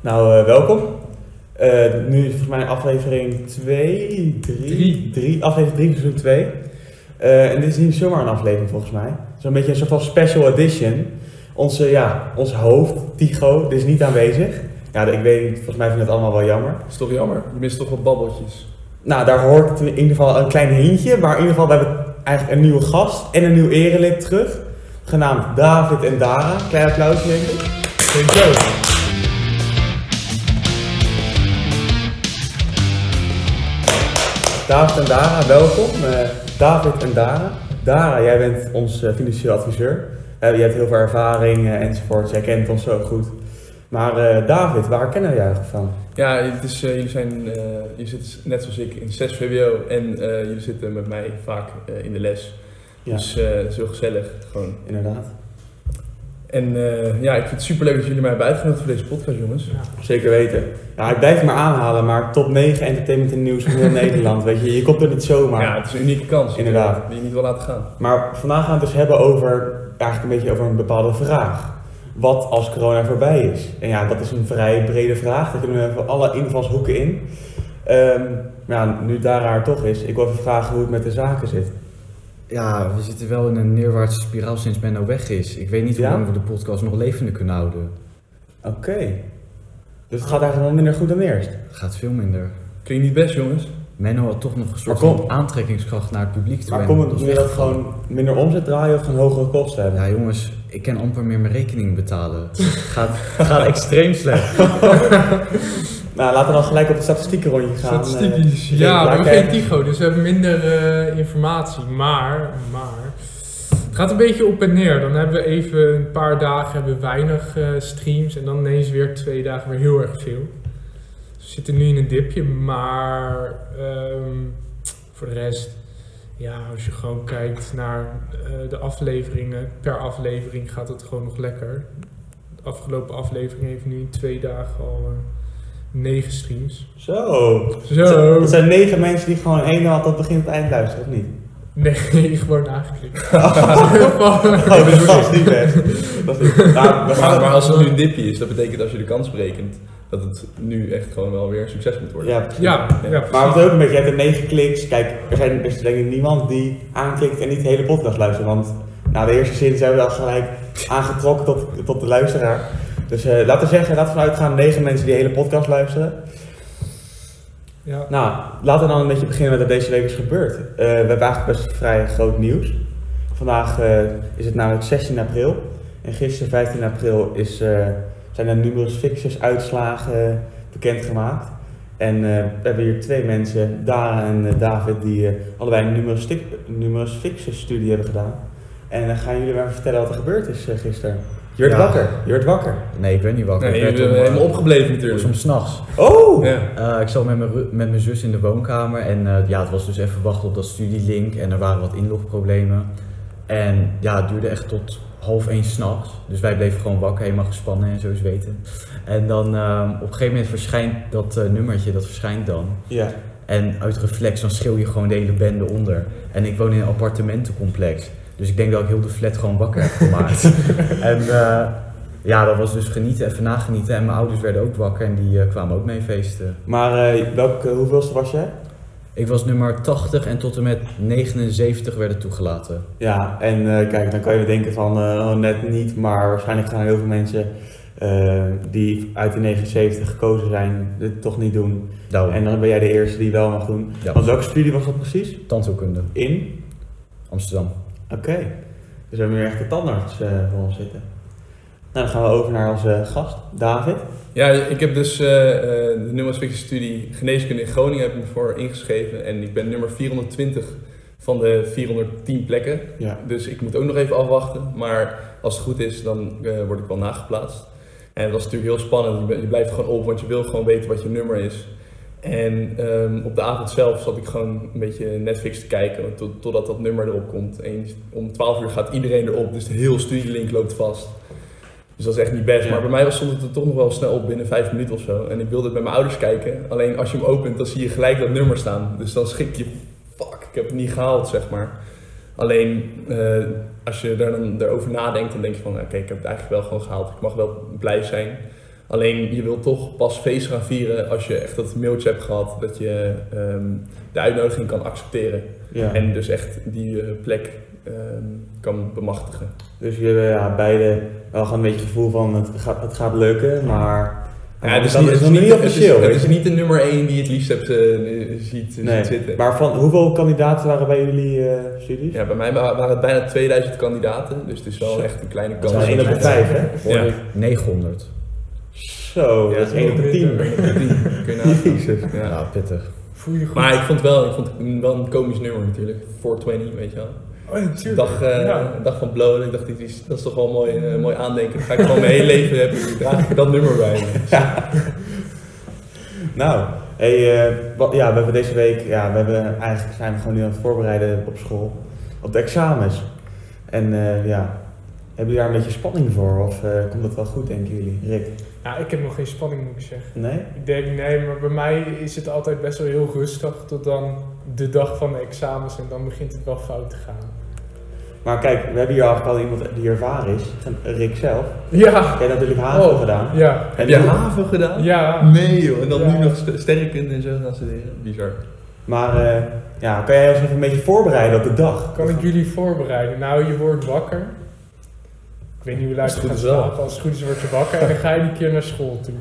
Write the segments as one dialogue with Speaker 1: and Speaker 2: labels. Speaker 1: Nou, eh, welkom. Eh, nu is volgens mij aflevering 2, 3,
Speaker 2: Drie.
Speaker 1: 3, aflevering 3, seizoen 2. en dit is niet zomaar een aflevering volgens mij. Zo'n beetje een soort van special edition. Onze, ja, ons hoofd, Tycho, die is niet aanwezig. Ja, ik weet niet, volgens mij vind ik het allemaal wel jammer.
Speaker 2: Dat is toch jammer? Je mist toch wat babbeltjes.
Speaker 1: Nou, daar hoort in ieder geval een klein hintje. Maar in ieder geval, we hebben eigenlijk een nieuwe gast en een nieuw erelid terug. Genaamd David en Dara. Klein applausje, denk ik. Dank je wel. David en Dara, welkom. Eh, David en Dara. Dara, jij bent ons eh, financieel adviseur. Eh, je hebt heel veel ervaring eh, enzovoort. Jij kent ons zo goed. Maar eh, David, waar kennen we jou eigenlijk van?
Speaker 2: Ja, het is, eh, jullie, zijn, eh jullie zitten net zoals ik in 6 VWO en eh, jullie zitten met mij vaak eh, in de les.
Speaker 1: Ja.
Speaker 2: Dus eh, het is heel gezellig gewoon.
Speaker 1: Inderdaad.
Speaker 2: En eh, ja, ik vind het superleuk dat jullie mij hebben uitgenodigd voor deze podcast, jongens.
Speaker 1: Zeker weten. Ja, ik blijf het maar aanhalen, maar top 9 entertainment en nieuws van heel Nederland. Weet je, je komt er niet zomaar.
Speaker 2: Ja, het is een unieke kans.
Speaker 1: Inderdaad.
Speaker 2: Die je niet wil laten gaan.
Speaker 1: Maar vandaag gaan we het dus hebben over eigenlijk een beetje over een bepaalde vraag. Wat als corona voorbij is? En ja, dat is een vrij brede vraag. Daar kunnen we van alle invalshoeken in. Ehm, maar ja, nu daar haar toch is, ik wil even vragen hoe het met de zaken zit.
Speaker 3: Ja, we zitten wel in een neerwaartse spiraal sinds Menno weg is. Ik weet niet hoe
Speaker 1: Ja?
Speaker 3: lang we de podcast nog levende kunnen houden.
Speaker 1: Oké. Dus het gaat eigenlijk wel minder goed dan eerst.
Speaker 3: Gaat veel minder.
Speaker 2: Klinkt niet best, jongens.
Speaker 3: Menno had toch nog een soort
Speaker 1: Maar kom-
Speaker 3: van aantrekkingskracht naar het publiek toe.
Speaker 1: Maar
Speaker 3: en
Speaker 1: komt het
Speaker 3: dat is
Speaker 1: nu dat we
Speaker 3: weggevallen.
Speaker 1: gewoon minder omzet draaien of gewoon hogere kosten hebben?
Speaker 3: Ja jongens, ik kan amper meer mijn rekening betalen. Het gaat, het gaat extreem slecht.
Speaker 1: Nou, laten we dan gelijk op de statistieken rondje gaan. Eh,
Speaker 4: Statistiekjes.
Speaker 1: Eh,
Speaker 4: ja, we hebben
Speaker 1: Black
Speaker 4: geen Tigo, dus we hebben minder eh, informatie. Maar, maar, het gaat een beetje op en neer. Dan hebben we even een paar dagen hebben we weinig eh, streams en dan ineens weer twee dagen weer heel erg veel. Dus we zitten nu in een dipje, maar ehm, voor de rest, ja, als je gewoon kijkt naar eh, de afleveringen, per aflevering gaat het gewoon nog lekker. De afgelopen aflevering heeft nu in twee dagen al eh, negen streams.
Speaker 1: Zo.
Speaker 4: Zo.
Speaker 1: Het zijn negen mensen die gewoon één had tot begin tot eind luisteren, of niet?
Speaker 4: Nee, gewoon aangeklikt.
Speaker 1: Oh, dus dat is niet best. Dat is niet. Nou, we
Speaker 2: Maar,
Speaker 1: gaan
Speaker 2: maar als het nu een dipje is, dat betekent als je de kans berekent, dat het nu echt gewoon wel weer een succes moet worden.
Speaker 1: Ja, precies.
Speaker 4: ja, ja.
Speaker 1: Maar wat ook een beetje, je hebt er negen kliks. Kijk, er, zijn, er is denk ik niemand die aanklikt en niet de hele podcast luistert. Want na de eerste zin zijn we al gelijk aangetrokken tot, tot de luisteraar. Dus eh, laten we zeggen, laten we vanuit gaan negen mensen die de hele podcast luisteren.
Speaker 4: ja.
Speaker 1: Nou, laten we dan een beetje beginnen met wat deze week is gebeurd. Eh, we hebben eigenlijk best vrij groot nieuws. Vandaag eh, is het namelijk 16 april. En gisteren, 15 april, is, eh, zijn er numerous fixes, uitslagen bekendgemaakt. En eh, we hebben hier twee mensen, Dara en eh, David, die eh, allebei een numerous, stik- numerous fixes studie hebben gedaan. En dan gaan jullie maar even vertellen wat er gebeurd is eh, gisteren. Je werd
Speaker 3: Ja.
Speaker 1: wakker, je werd wakker.
Speaker 3: Nee, ik ben niet wakker.
Speaker 2: Nee,
Speaker 3: ik
Speaker 2: je
Speaker 3: werd
Speaker 2: bent
Speaker 3: om, eh,
Speaker 2: helemaal opgebleven
Speaker 3: het was
Speaker 2: natuurlijk.
Speaker 3: om 's nachts.
Speaker 1: Oh!
Speaker 2: Ja.
Speaker 3: Eh, ik zat met mijn, ru- met mijn zus in de woonkamer en eh, ja, het was dus even wachten op dat studielink en er waren wat inlogproblemen. En ja, het duurde echt tot half één s'nachts. Dus wij bleven gewoon wakker, helemaal gespannen en zo zweten. En dan eh, op een gegeven moment verschijnt dat eh, nummertje, dat verschijnt dan.
Speaker 1: Ja.
Speaker 3: En uit reflex dan schreeuw je gewoon de hele bende onder. En ik woon in een appartementencomplex. Dus ik denk dat ik heel de flat gewoon wakker heb gemaakt. en eh, ja, dat was dus genieten, even nagenieten. En mijn ouders werden ook wakker en die eh, kwamen ook mee feesten.
Speaker 1: Maar eh, welke, hoeveelste was jij?
Speaker 3: Ik was nummer 80 en tot en met 79 werden toegelaten.
Speaker 1: Ja, en eh, kijk, dan kan je denken van eh, oh, net niet, maar waarschijnlijk gaan heel veel mensen eh, die uit de 79 gekozen zijn, dit toch niet doen.
Speaker 3: Daarom.
Speaker 1: En dan ben jij de eerste die wel mag doen.
Speaker 3: Nou, ja,
Speaker 1: Want welke studie was dat precies?
Speaker 3: tandheelkunde,
Speaker 1: In?
Speaker 3: Amsterdam.
Speaker 1: Oké. Dus we hebben nu echt de tandarts eh, voor ons zitten. Nou, dan gaan we over naar onze gast, David.
Speaker 2: Ja, ik heb dus eh, eh, de nummers studie geneeskunde in Groningen heb ik me voor ingeschreven. En ik ben nummer 420 van de 410 plekken.
Speaker 1: Ja.
Speaker 2: Dus ik moet ook nog even afwachten. Maar als het goed is, dan eh, word ik wel nageplaatst. En dat is natuurlijk heel spannend. Je, bent- je blijft gewoon op, want je wil gewoon weten wat je nummer is. En ehm, op de avond zelf zat ik gewoon een beetje Netflix te kijken, tot, totdat dat nummer erop komt. En om 12 uur gaat iedereen erop, dus de heel studielink loopt vast. Dus dat is echt niet best.
Speaker 1: Ja.
Speaker 2: Maar bij mij was- stond het er toch nog wel snel op binnen 5 minuten of zo. En ik wilde het bij mijn ouders kijken. Alleen als je hem opent, dan zie je gelijk dat nummer staan. Dus dan schrik je, fuck, ik heb het niet gehaald, zeg maar. Alleen eh, als je daar dan daarover nadenkt, dan denk je van, oké, ik heb het eigenlijk wel gewoon gehaald. Ik mag wel blij zijn. Alleen je wilt toch pas feest gaan vieren als je echt dat mailtje hebt gehad, dat je ehm, de uitnodiging kan accepteren.
Speaker 1: Ja.
Speaker 2: En dus echt die eh, plek ehm, kan bemachtigen.
Speaker 1: Dus jullie hebben ja, beide wel gewoon een beetje het gevoel van het gaat, het gaat lukken, maar
Speaker 2: Ja, het is
Speaker 1: dat
Speaker 2: niet,
Speaker 1: is
Speaker 2: het is
Speaker 1: nog niet,
Speaker 2: niet-
Speaker 1: officieel.
Speaker 2: Het is,
Speaker 1: weet
Speaker 2: het
Speaker 1: je.
Speaker 2: is niet de nummer 1 die het liefst hebt, eh, ziet,
Speaker 1: Nee,
Speaker 2: ziet zitten.
Speaker 1: Maar van hoeveel kandidaten waren bij jullie eh, studies?
Speaker 2: Ja, bij mij wa- waren het bijna 2000 kandidaten, dus het is wel
Speaker 1: Zo.
Speaker 2: echt een kleine
Speaker 3: Dat
Speaker 2: kans.
Speaker 1: Dat is
Speaker 3: zijn
Speaker 1: één op de
Speaker 3: vijf.
Speaker 1: vijf, hè?
Speaker 3: Hoorde ik 900.
Speaker 1: Zo,
Speaker 2: Ja,
Speaker 1: dat is één op de tien.
Speaker 2: Kun je nagaan.
Speaker 3: Ja,
Speaker 2: Ja.
Speaker 3: pittig.
Speaker 4: Voel je goed?
Speaker 2: Maar ik vond wel, ik vond het wel een komisch nummer natuurlijk. 420, weet je wel.
Speaker 4: oh, natuurlijk.
Speaker 2: Dag, eh,
Speaker 4: Ja.
Speaker 2: dag van blowen. Ik dacht, dit is, dat is toch wel een mooi, eh, mooi aandenken. Dat ga ik gewoon mijn hele leven hebben. Draag ik dat nummer bij me.
Speaker 1: Nou, hey, eh, wat, ja, we hebben deze week, ja, we hebben eigenlijk zijn we gewoon nu aan het voorbereiden op school, op de examens. En eh, ja, hebben jullie daar een beetje spanning voor of eh, komt dat wel goed, denken jullie? Rick?
Speaker 4: Ja, ik heb nog geen spanning, moet ik zeggen.
Speaker 1: Nee?
Speaker 4: Ik denk nee, maar bij mij is het altijd best wel heel rustig tot dan de dag van de examens en dan begint het wel fout te gaan.
Speaker 1: Maar kijk, we hebben hier eigenlijk al iemand die ervaren is, Rick zelf.
Speaker 4: Ja,
Speaker 1: Jij hebt natuurlijk HAVO
Speaker 4: Oh.
Speaker 1: gedaan.
Speaker 4: ja,
Speaker 2: Heb
Speaker 1: En
Speaker 2: je
Speaker 1: nu-
Speaker 2: haven gedaan?
Speaker 4: ja.
Speaker 2: Nee joh, en dan
Speaker 4: Ja.
Speaker 2: nu nog st- sterrenkunde en zo gaan studeren. Bizar.
Speaker 1: Maar eh, ja, kan jij ons even een beetje voorbereiden op de dag?
Speaker 4: Kan ik jullie voorbereiden? Nou, je wordt wakker. Ik weet niet hoe laat
Speaker 2: Als
Speaker 4: je
Speaker 2: het
Speaker 4: gaat
Speaker 2: goed is wel.
Speaker 4: slapen. Als het goed is, word je wakker en dan ga je die keer naar school toe.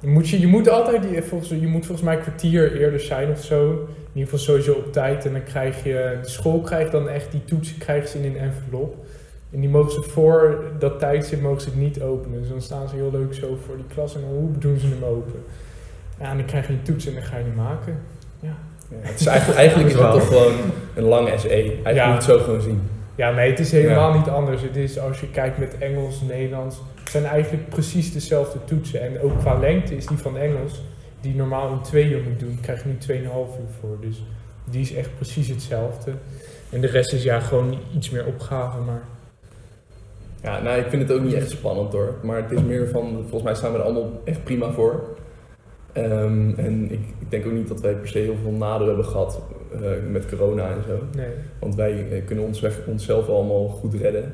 Speaker 4: Dan moet je, je moet altijd, die- volgens, je moet volgens mij een kwartier eerder zijn of zo. In ieder geval sowieso op tijd. En dan krijg je, de school krijgt dan echt die toetsen krijgt ze in een envelop. En die mogen ze voor dat tijdstip mogen ze het niet openen. Dus dan staan ze heel leuk zo voor die klas en dan hoe doen ze hem open. Ja, en dan krijg je een toets en dan ga je die maken.
Speaker 2: het is eigenlijk, eigenlijk is dat toch gewoon een lang SE. Eigenlijk
Speaker 4: Ja.
Speaker 2: moet je het zo gewoon zien.
Speaker 4: Ja, nee, het is helemaal niet anders. Het is als je kijkt met Engels, Nederlands, het zijn eigenlijk precies dezelfde toetsen. En ook qua lengte is die van Engels, die normaal in twee uur moet doen, krijg je nu 2,5 uur voor. Dus die is echt precies hetzelfde. En de rest is ja gewoon iets meer opgave, maar
Speaker 2: Ja, nou, ik vind het ook niet echt spannend hoor. Maar het is meer van, volgens mij staan we er allemaal echt prima voor. Ehm, en ik, ik denk ook niet dat wij per se heel veel nadeel hebben gehad eh, met corona en zo.
Speaker 4: nee.
Speaker 2: Want wij eh, kunnen ons, weg- onszelf allemaal goed redden.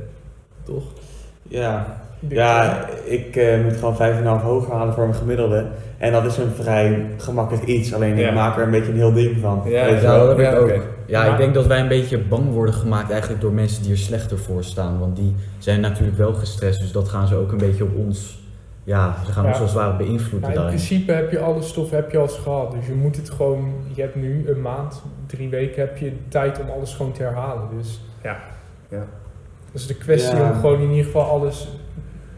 Speaker 2: Toch?
Speaker 1: Ja,
Speaker 4: Ik denk-
Speaker 1: ja ik eh, moet gewoon 5,5 hoog halen voor mijn gemiddelde. En dat is een vrij gemakkelijk iets, alleen
Speaker 2: Ja.
Speaker 1: ik maak er een beetje een heel ding van.
Speaker 2: Ja,
Speaker 1: Weet je
Speaker 3: ja,
Speaker 1: wel?
Speaker 3: dat heb ik
Speaker 2: Ja,
Speaker 3: ook.
Speaker 2: oké.
Speaker 3: Ja,
Speaker 4: Maar-
Speaker 3: ik denk dat wij een beetje bang worden gemaakt eigenlijk door mensen die er slechter voor staan. Want die zijn natuurlijk wel gestrest, dus dat gaan ze ook een beetje op ons... Ja, ze gaan
Speaker 4: Ja.
Speaker 3: ons als het ware beïnvloeden
Speaker 4: Nou, in
Speaker 3: daarin.
Speaker 4: principe heb je alle stof heb je al eens gehad. Dus je moet het gewoon, je hebt nu een maand, drie weken heb je tijd om alles gewoon te herhalen. Dus
Speaker 2: Ja, ja.
Speaker 4: Dat is de kwestie
Speaker 1: Ja.
Speaker 4: om gewoon in ieder geval alles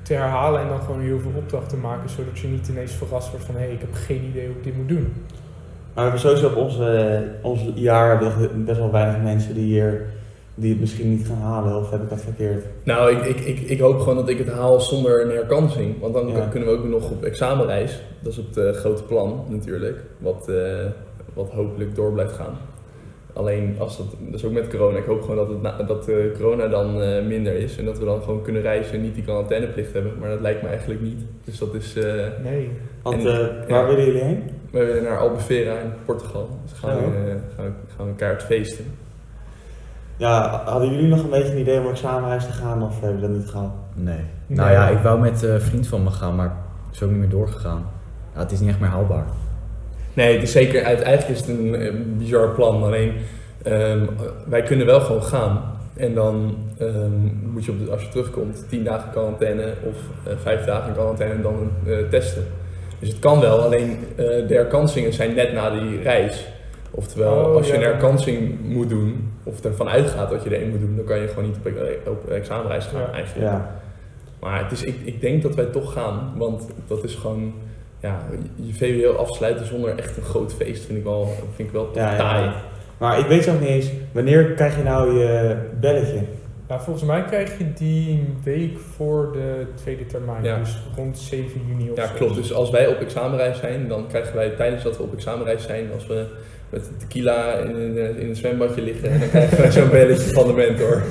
Speaker 4: te herhalen en dan gewoon heel veel opdrachten te maken, zodat je niet ineens verrast wordt van hé, hey, ik heb geen idee hoe ik dit moet doen.
Speaker 1: Maar we hebben sowieso op ons, eh, ons jaar hebben we best wel weinig mensen die hier die het misschien niet gaan halen, of heb ik dat verkeerd?
Speaker 2: Nou, ik, ik, ik, ik hoop gewoon dat ik het haal zonder een herkansing. Want dan
Speaker 1: Ja.
Speaker 2: kunnen we ook nog op examenreis. Dat is het eh, grote plan natuurlijk. Wat, eh, wat hopelijk door blijft gaan. Alleen, als dat, dat is ook met corona. Ik hoop gewoon dat, het na- dat eh, corona dan eh, minder is. En dat we dan gewoon kunnen reizen en niet die quarantaineplicht hebben. Maar dat lijkt me eigenlijk niet. Dus dat is... eh,
Speaker 4: Nee.
Speaker 1: Want
Speaker 2: En-
Speaker 1: eh, waar
Speaker 2: ja.
Speaker 1: willen jullie heen?
Speaker 2: we willen naar Albufeira in Portugal. Dus gaan, we,
Speaker 1: Oh.
Speaker 2: eh, gaan, we, gaan we keihard feesten.
Speaker 1: Ja, hadden jullie nog een beetje een idee om examenreis te gaan, of hebben jullie dat niet gehad?
Speaker 3: Nee. Nou ja, ik wou met eh, een vriend van me gaan, maar is ook niet meer doorgegaan. Ja, het is niet echt meer haalbaar.
Speaker 2: Nee, het is zeker, uit- eigenlijk is het een eh, bizar plan. Alleen, ehm, wij kunnen wel gewoon gaan. En dan ehm, moet je, op de- als je terugkomt, 10 dagen quarantaine of eh 5 dagen quarantaine en dan eh, testen. Dus het kan wel, alleen eh, de herkansingen zijn net na die reis. Oftewel,
Speaker 4: Oh,
Speaker 2: als je
Speaker 4: ja.
Speaker 2: een herkansing moet doen, of ervan uitgaat dat je er één moet doen, dan kan je gewoon niet op, e- op examenreis gaan
Speaker 4: Ja.
Speaker 2: eigenlijk.
Speaker 1: Ja.
Speaker 2: Maar het is, ik, ik denk dat wij toch gaan, want dat is gewoon... Ja, je VWO afsluiten zonder echt een groot feest vind ik wel, vind ik wel
Speaker 1: Ja, ja.
Speaker 2: taai.
Speaker 1: Maar ik weet zelf niet eens, wanneer krijg je nou je belletje?
Speaker 4: Nou, volgens mij krijg je die een week voor de tweede termijn,
Speaker 2: Ja.
Speaker 4: dus rond 7 juni of
Speaker 2: Ja,
Speaker 4: zo.
Speaker 2: klopt. Dus als wij op examenreis zijn, dan krijgen wij tijdens dat we op examenreis zijn, als we met tequila in, een- in een zwembadje liggen, dan krijgen wij zo'n belletje van de mentor.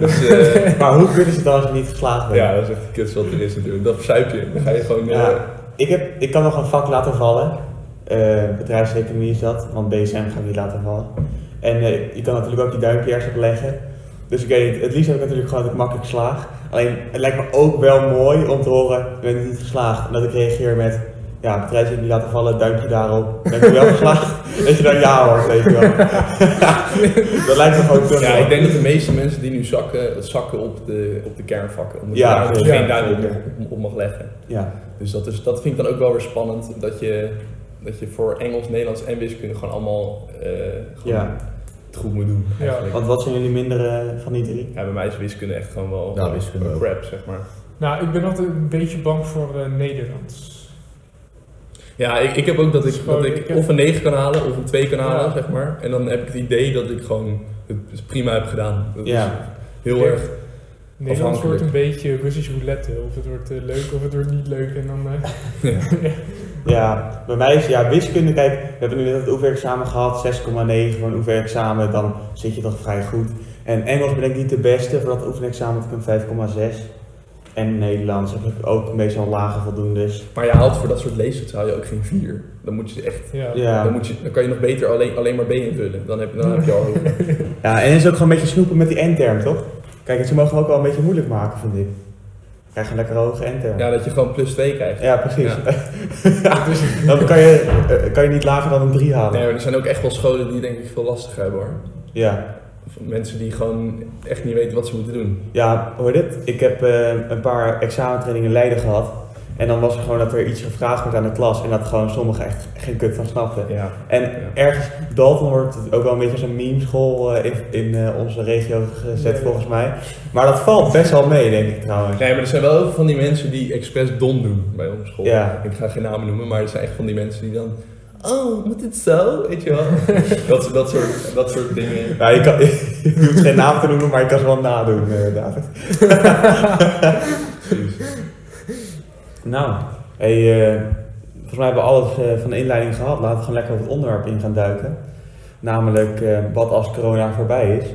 Speaker 2: Dus eh,
Speaker 1: maar hoe kunnen ze het dan als je niet geslaagd bent?
Speaker 2: ja, dat is echt kut wat er is natuurlijk. Dat verzuip je. Dan ga je gewoon... eh,
Speaker 1: Ja. Ik, heb, ik kan nog een vak laten vallen. Eh, bedrijfseconomie is dat, want BSM ga ik niet laten vallen. En eh, je kan natuurlijk ook die duimpjes opleggen. Dus ik weet niet, het liefst heb ik natuurlijk gewoon dat ik makkelijk slaag. Alleen het lijkt me ook wel mooi om te horen, je bent niet geslaagd. En dat ik reageer met, ja, bedrijfsje niet laten vallen, duimpje daarop. Ben je wel geslaagd? Dat je dan ja hoort, weet je wel. dat lijkt me gewoon te
Speaker 2: eh, Ja, ik denk dat de meeste mensen die nu zakken, zakken op, de, op de kernvakken. Omdat
Speaker 1: Ja,
Speaker 2: je daar dus
Speaker 1: ja,
Speaker 2: geen duim op,
Speaker 1: zeker.
Speaker 2: op, op mag leggen.
Speaker 1: Ja,
Speaker 2: Dus dat, is, dat vind ik dan ook wel weer spannend. Dat je, dat je voor Engels, Nederlands en wiskunde gewoon allemaal eh, gewoon
Speaker 1: Ja.
Speaker 2: het goed moet doen.
Speaker 4: Ja.
Speaker 2: eigenlijk.
Speaker 1: want wat zijn jullie mindere van die drie?
Speaker 2: Ja, bij mij is wiskunde echt gewoon wel
Speaker 3: Ja, wiskunde ook.
Speaker 2: crap, zeg maar.
Speaker 4: Nou, ik ben altijd een beetje bang voor eh, Nederlands.
Speaker 2: Ja, ik, ik heb ook dat ik, dat ik of een 9 kan halen of een 2 kan halen,
Speaker 4: Ja.
Speaker 2: zeg maar. En dan heb ik het idee dat ik gewoon het prima heb gedaan. Dat is
Speaker 1: Ja.
Speaker 2: heel
Speaker 4: Ja.
Speaker 2: erg.
Speaker 4: Nederlands
Speaker 2: Afhankelijk.
Speaker 4: wordt een beetje Russisch roulette. Of het wordt eh, leuk of het wordt niet leuk. En dan, eh,
Speaker 2: Ja.
Speaker 1: Ja, bij mij is ja, wiskunde, kijk, we hebben nu net het oefenexamen gehad, 6,9 voor een oefenexamen, dan zit je toch vrij goed. En Engels ben ik niet de beste, voor dat oefenexamen heb ik een 5,6. En Nederlands heb ik ook meestal lage voldoendes.
Speaker 2: Maar je haalt voor dat soort lezers haal je ook geen 4. Dan moet je echt.
Speaker 4: ja.
Speaker 1: Ja.
Speaker 2: Dan, moet je, dan kan je nog beter alleen, alleen maar B invullen. Dan heb, dan heb je al.
Speaker 1: ja, en het is ook gewoon een beetje snoepen met die endterm, toch? Kijk, ze mogen hem ook wel een beetje moeilijk maken, vind ik. Krijg een lekker hoge endterm.
Speaker 2: Ja, dat je gewoon plus 2 krijgt.
Speaker 1: Ja, precies. dan kan je, eh, kan je niet lager dan een 3 halen.
Speaker 2: Nee, maar er zijn ook echt wel scholen die denk ik veel lastiger hebben hoor.
Speaker 1: Ja.
Speaker 2: Of mensen die gewoon echt niet weten wat ze moeten doen.
Speaker 1: Ja, hoor je dit? Ik heb eh, een paar examentrainingen in Leiden gehad. En dan was er gewoon dat er iets gevraagd werd aan de klas. En dat gewoon sommigen echt geen kut van snapten.
Speaker 2: Ja.
Speaker 1: En ergens, Dalton wordt ook wel een beetje als een meme-school eh, in, in eh, onze regio gezet
Speaker 4: Ja.
Speaker 1: volgens mij. Maar dat valt best wel mee, denk ik trouwens.
Speaker 2: Nee, maar er zijn wel heel veel van die mensen die expres dom doen bij onze school.
Speaker 1: Ja.
Speaker 2: Ik ga geen namen noemen, maar er zijn echt van die mensen die dan... Oh, moet het zo? Weet je wel? dat, dat, soort, dat soort dingen.
Speaker 1: Ja, je, kan, je hoeft geen naam te noemen, maar je kan ze wel nadoen, eh, David.
Speaker 2: Precies.
Speaker 1: Nou, hey, eh, volgens mij hebben we alles eh, van de inleiding gehad. Laten we gewoon lekker op het onderwerp in gaan duiken. Namelijk, eh, wat als corona voorbij is?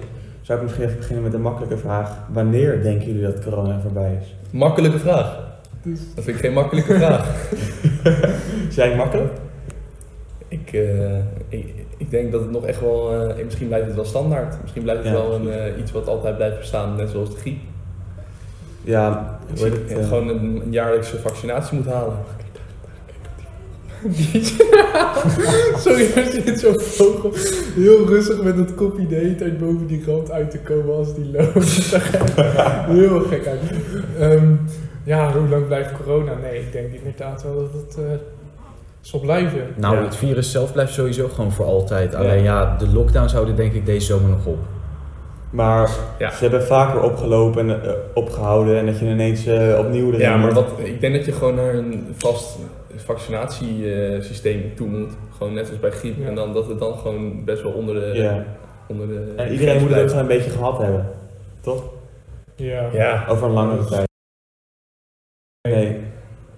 Speaker 1: Zou ik misschien even beginnen met een makkelijke vraag. Wanneer denken jullie dat corona voorbij is?
Speaker 2: Makkelijke vraag.
Speaker 4: Dus-
Speaker 2: Dat vind ik geen makkelijke vraag.
Speaker 1: Zijn makkelijk?
Speaker 2: Ik, eh, ik, ik denk dat het nog echt wel... eh, misschien blijft het wel standaard. Misschien blijft het
Speaker 1: Ja,
Speaker 2: wel een, eh, iets wat altijd blijft bestaan, net zoals de griep.
Speaker 1: Ja,
Speaker 2: Ik
Speaker 1: hoe
Speaker 2: zie
Speaker 1: heet
Speaker 2: dat
Speaker 1: het,
Speaker 2: je
Speaker 1: eh,
Speaker 2: gewoon een, een jaarlijkse vaccinatie moet halen.
Speaker 4: Sorry, er zit zo'n vogel heel rustig met dat kopje de hele tijd boven die rand uit te komen als die loopt. Dat zag er heel gek uit. Ehm, ja, hoe lang blijft corona? Nee, ik denk inderdaad wel dat het eh, zal blijven.
Speaker 3: Nou,
Speaker 1: Ja.
Speaker 3: het virus zelf blijft sowieso gewoon voor altijd. Alleen ja, de lockdowns houden denk ik deze zomer nog op.
Speaker 1: maar
Speaker 2: Ja.
Speaker 1: ze hebben vaker opgelopen en eh, opgehouden en dat je ineens eh, opnieuw erin
Speaker 2: Ja, maar
Speaker 1: moet.
Speaker 2: wat, ik denk dat je gewoon naar een vast vaccinatiesysteem toe moet. Gewoon net als bij griep.
Speaker 4: Ja.
Speaker 2: En dan dat het dan gewoon best wel onder de.
Speaker 1: Ja.
Speaker 2: Onder de
Speaker 1: En
Speaker 2: grens
Speaker 1: iedereen moet het ook
Speaker 2: eh, blijft.
Speaker 1: gewoon een beetje gehad hebben.
Speaker 4: Ja.
Speaker 2: Ja,
Speaker 1: Over een langere tijd. Nee.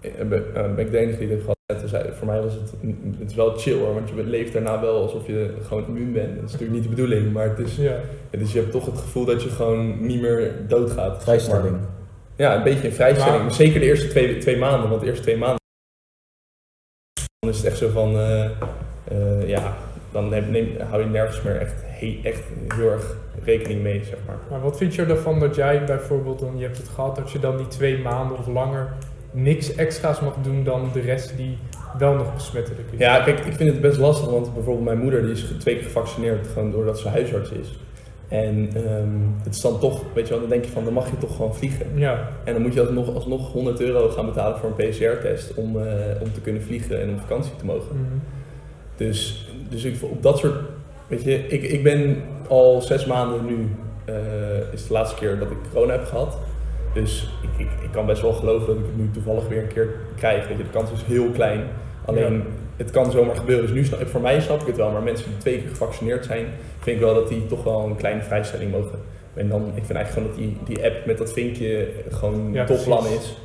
Speaker 2: ik eh, ben eh, ben ik de enige die dit gehad heeft. Dus hij- voor mij was het, het is wel chill hoor, want je leeft daarna wel alsof je gewoon immuun bent. Dat is natuurlijk niet de bedoeling, maar het is,
Speaker 4: Ja.
Speaker 2: het is, je hebt toch het gevoel dat je gewoon niet meer doodgaat.
Speaker 3: Vrijstelling.
Speaker 2: Ja, een beetje een vrijstelling.
Speaker 4: Maar-
Speaker 2: Zeker de eerste twee, twee maanden, want de eerste twee maanden. Dan is het echt zo van. eh, eh, ja, dan heb, neem, hou je nergens meer echt, he- echt heel erg rekening mee, zeg maar.
Speaker 4: Maar wat vind je ervan dat jij bijvoorbeeld, dan, je hebt het gehad, dat je dan die twee maanden of langer niks extra's mag doen dan de rest die wel nog besmettelijk is?
Speaker 2: Ja, kijk, ik vind het best lastig, want bijvoorbeeld mijn moeder die is ge- twee keer gevaccineerd, gewoon doordat ze huisarts is. En ehm, het is dan toch, weet je wel, dan denk je van, dan mag je toch gewoon vliegen.
Speaker 4: Ja,
Speaker 2: En dan moet je alsnog, alsnog 100 euro gaan betalen voor een PCR-test om, eh, om te kunnen vliegen en om vakantie te mogen.
Speaker 4: mhm.
Speaker 2: Dus, dus ik, op dat soort. Weet je, ik, ik ben al zes maanden nu. eh, is de laatste keer dat ik corona heb gehad. Dus ik, ik, ik kan best wel geloven dat ik het nu toevallig weer een keer krijg. Weet je, de kans is heel klein. Alleen
Speaker 4: Ja.
Speaker 2: het kan zomaar gebeuren. Dus nu snap, voor mij snap ik het wel. Maar mensen die twee keer gevaccineerd zijn, vind ik wel dat die toch wel een kleine vrijstelling mogen. En dan, ik vind eigenlijk gewoon dat die, die app met dat vinkje gewoon
Speaker 4: Ja,
Speaker 2: topplan
Speaker 4: precies.
Speaker 2: is.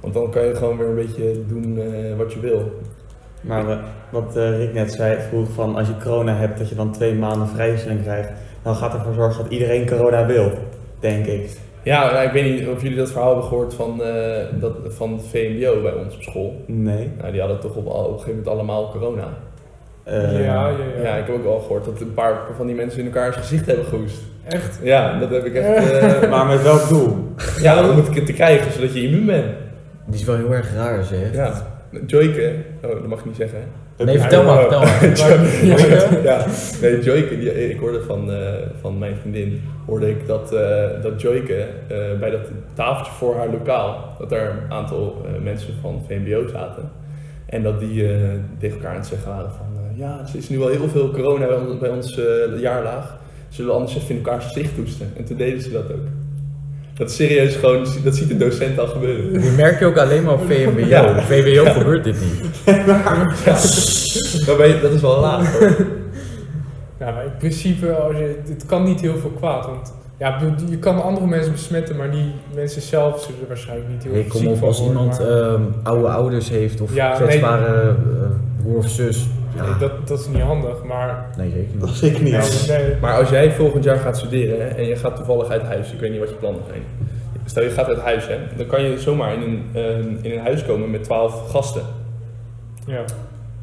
Speaker 2: Want dan kan je gewoon weer een beetje doen eh, wat je wil.
Speaker 1: Maar eh, wat eh, Rick net zei, vroeg van als je corona hebt, dat je dan twee maanden vrijstelling krijgt. Dan gaat ervoor zorgen dat iedereen corona wil, denk ik.
Speaker 2: Ja, nou, ik weet niet of jullie dat verhaal hebben gehoord van, eh, dat, van het VMBO bij ons op school.
Speaker 1: Nee.
Speaker 2: Nou, die hadden toch op, op een gegeven moment allemaal corona.
Speaker 1: Eh,
Speaker 4: ja, ja, ja.
Speaker 2: Ja, ik heb ook wel gehoord dat een paar van die mensen in elkaars gezicht hebben gehoest.
Speaker 4: Echt?
Speaker 2: Ja, dat heb ik echt. eh,
Speaker 1: Maar met welk doel?
Speaker 2: ja, dan moet ik het te krijgen zodat je immuun bent.
Speaker 3: Die is wel heel erg raar, zeg.
Speaker 2: Ja. Joyke, oh, dat mag ik niet zeggen. hè?
Speaker 3: Nee, vertel maar, vertel maar.
Speaker 2: Joyke? ja, nee, Joyke, die, ik hoorde van, eh, van mijn vriendin, hoorde ik dat, eh, dat Joyke eh, bij dat tafeltje voor haar lokaal, dat daar een aantal eh, mensen van VMBO zaten. En dat die eh, tegen elkaar aan het zeggen waren van, eh, ja, er is nu al heel veel corona bij ons, bij ons eh, jaarlaag. Zullen we anders even in elkaars gezicht toesten? En toen deden ze dat ook. Dat is serieus gewoon, dat ziet de docent al gebeuren.
Speaker 3: Die merk je ook alleen maar op VMBO.
Speaker 2: Ja.
Speaker 3: Op VWO gebeurt dit niet.
Speaker 2: Maar weet je, dat is wel laag hoor.
Speaker 4: Ja, maar in principe, als je, het kan niet heel veel kwaad. Want ja, ik bedoel, je kan andere mensen besmetten, maar die mensen zelf zullen er waarschijnlijk niet heel
Speaker 3: Ik
Speaker 4: veel
Speaker 3: kom
Speaker 4: ziek
Speaker 3: op,
Speaker 4: van
Speaker 3: als
Speaker 4: worden,
Speaker 3: iemand
Speaker 4: maar-
Speaker 3: ehm, oude ouders heeft of
Speaker 4: Ja, nee.
Speaker 3: kwetsbare eh, broer of zus. Ja.
Speaker 4: Nee, dat, dat is niet handig, maar... Nou,
Speaker 3: Nee, zeker
Speaker 1: Dat
Speaker 3: niet.
Speaker 1: is zeker niet.
Speaker 4: nee.
Speaker 2: Maar als jij volgend jaar gaat studeren hè, en je gaat toevallig uit huis, ik weet niet wat je plannen zijn. Stel je gaat uit huis, hè, dan kan je zomaar in een, ehm, in een huis komen met 12 gasten.
Speaker 4: Ja,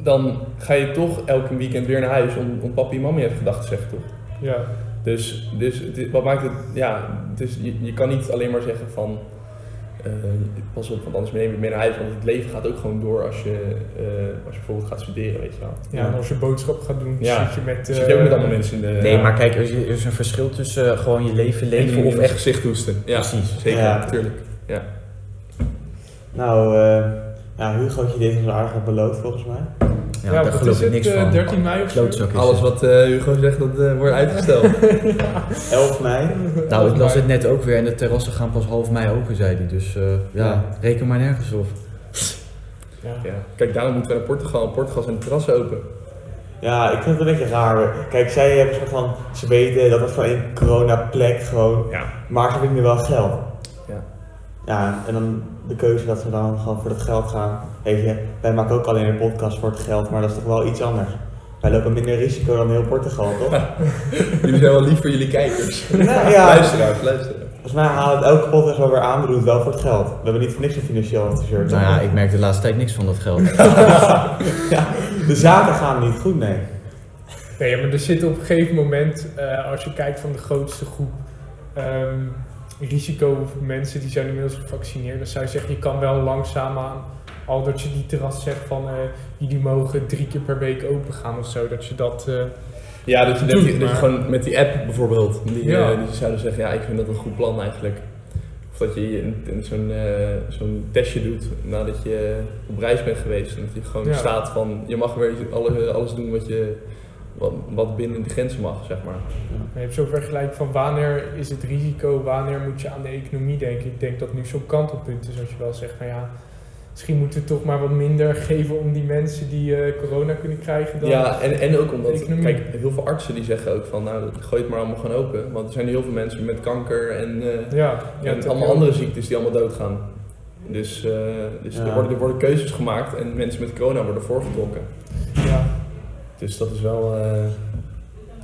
Speaker 2: Dan ga je toch elke weekend weer naar huis om, om papi en mami heeft gedacht te zeggen, toch?
Speaker 4: ja.
Speaker 2: Dus, dus het is- wat maakt het, ja, het is, je, je kan niet alleen maar zeggen van, eh, pas op, want anders neem je het mee naar huis. Want het leven gaat ook gewoon door als je, eh, als je bijvoorbeeld gaat studeren, weet je wel.
Speaker 4: ja, en als je boodschap gaat doen,
Speaker 2: Ja.
Speaker 4: zit je met...
Speaker 2: Dus zit je ook met
Speaker 4: eh,
Speaker 2: allemaal mensen in de...
Speaker 3: Nee, maar kijk, er is, er is een verschil tussen eh, gewoon je leven leven
Speaker 2: Leven of echt gezicht hoesten. Ja,
Speaker 3: Precies.
Speaker 2: zeker,
Speaker 1: Ja.
Speaker 2: natuurlijk.
Speaker 1: Nou, eh ja, Hugo had je dit al aardig beloofd volgens mij.
Speaker 3: Ja, daar
Speaker 4: wat is
Speaker 3: geloof ik
Speaker 4: het,
Speaker 3: niks
Speaker 4: eh,
Speaker 3: van.
Speaker 4: 13 mei of zo?
Speaker 3: Klootzak is
Speaker 2: Alles
Speaker 3: het.
Speaker 2: wat eh, Hugo zegt, dat eh, wordt uitgesteld.
Speaker 1: 11 mei.
Speaker 3: Nou, ik las het net ook weer en de terrassen gaan pas half mei open, zei hij. Dus eh, ja,
Speaker 1: Ja.
Speaker 3: reken maar nergens op.
Speaker 4: Ja.
Speaker 2: ja. Kijk, daarom moeten we naar Portugal. In Portugal zijn de terrassen open.
Speaker 1: Ja, ik vind het een beetje raar. Kijk, zij hebben soort van, ze weten dat het gewoon een corona-plek gewoon,
Speaker 2: Ja.
Speaker 1: maar ze vinden wel geld.
Speaker 2: Ja.
Speaker 1: Ja, en dan de keuze dat ze dan gewoon voor dat geld gaan. Weet je, wij maken ook alleen een podcast voor het geld, maar dat is toch wel iets anders. Wij lopen minder risico dan heel Portugal, toch?
Speaker 2: Jullie zijn wel lief voor jullie kijkers.
Speaker 1: nou ja,
Speaker 2: Luisteraars, luisteren.
Speaker 1: volgens mij halen we het elke podcast wel weer aan, we doen het wel voor het geld. We hebben niet voor niks een financieel adviseur. toch?
Speaker 3: Nou ja, ik merk de laatste tijd niks van dat geld.
Speaker 1: De zaken gaan niet goed, nee.
Speaker 4: Nee, maar er zit op een gegeven moment, eh, als je kijkt van de grootste groep ehm, risico mensen die zijn inmiddels gevaccineerd. Dus zij zeggen, je kan wel langzaamaan, al dat je die terras zegt van eh, jullie mogen drie keer per week open gaan of zo, dat je dat... eh,
Speaker 2: Ja, dat je, dat,
Speaker 4: Doe,
Speaker 2: je- dat je
Speaker 4: maar-
Speaker 2: gewoon met die app bijvoorbeeld, die, eh,
Speaker 4: Ja.
Speaker 2: die zouden zeggen, ja, ik vind dat een goed plan eigenlijk. Of dat je een- een- zo'n eh, zo'n testje doet nadat je op reis bent geweest. En dat je gewoon
Speaker 4: Ja.
Speaker 2: staat van, je mag weer alle- alles doen wat, je, wat, wat binnen de grenzen mag, zeg maar.
Speaker 4: je hebt zo'n vergelijk van wanneer is het risico, wanneer moet je aan de economie denken. Ik denk dat nu zo'n kantelpunt is als je wel zegt van ja, misschien moeten we toch maar wat minder geven om die mensen die eh, corona kunnen krijgen dan...
Speaker 2: Ja, en, en ook omdat,
Speaker 4: Economie.
Speaker 2: kijk, heel veel artsen die zeggen ook van, nou, gooi het maar allemaal gewoon open. Want er zijn heel veel mensen met kanker en, eh,
Speaker 4: ja, ja,
Speaker 2: en
Speaker 4: dat-
Speaker 2: allemaal andere ziektes die allemaal doodgaan. Dus, eh, dus
Speaker 1: Ja.
Speaker 2: er, worden, er worden keuzes gemaakt en mensen met corona worden voorgetrokken.
Speaker 4: Ja.
Speaker 2: Dus dat is wel, eh,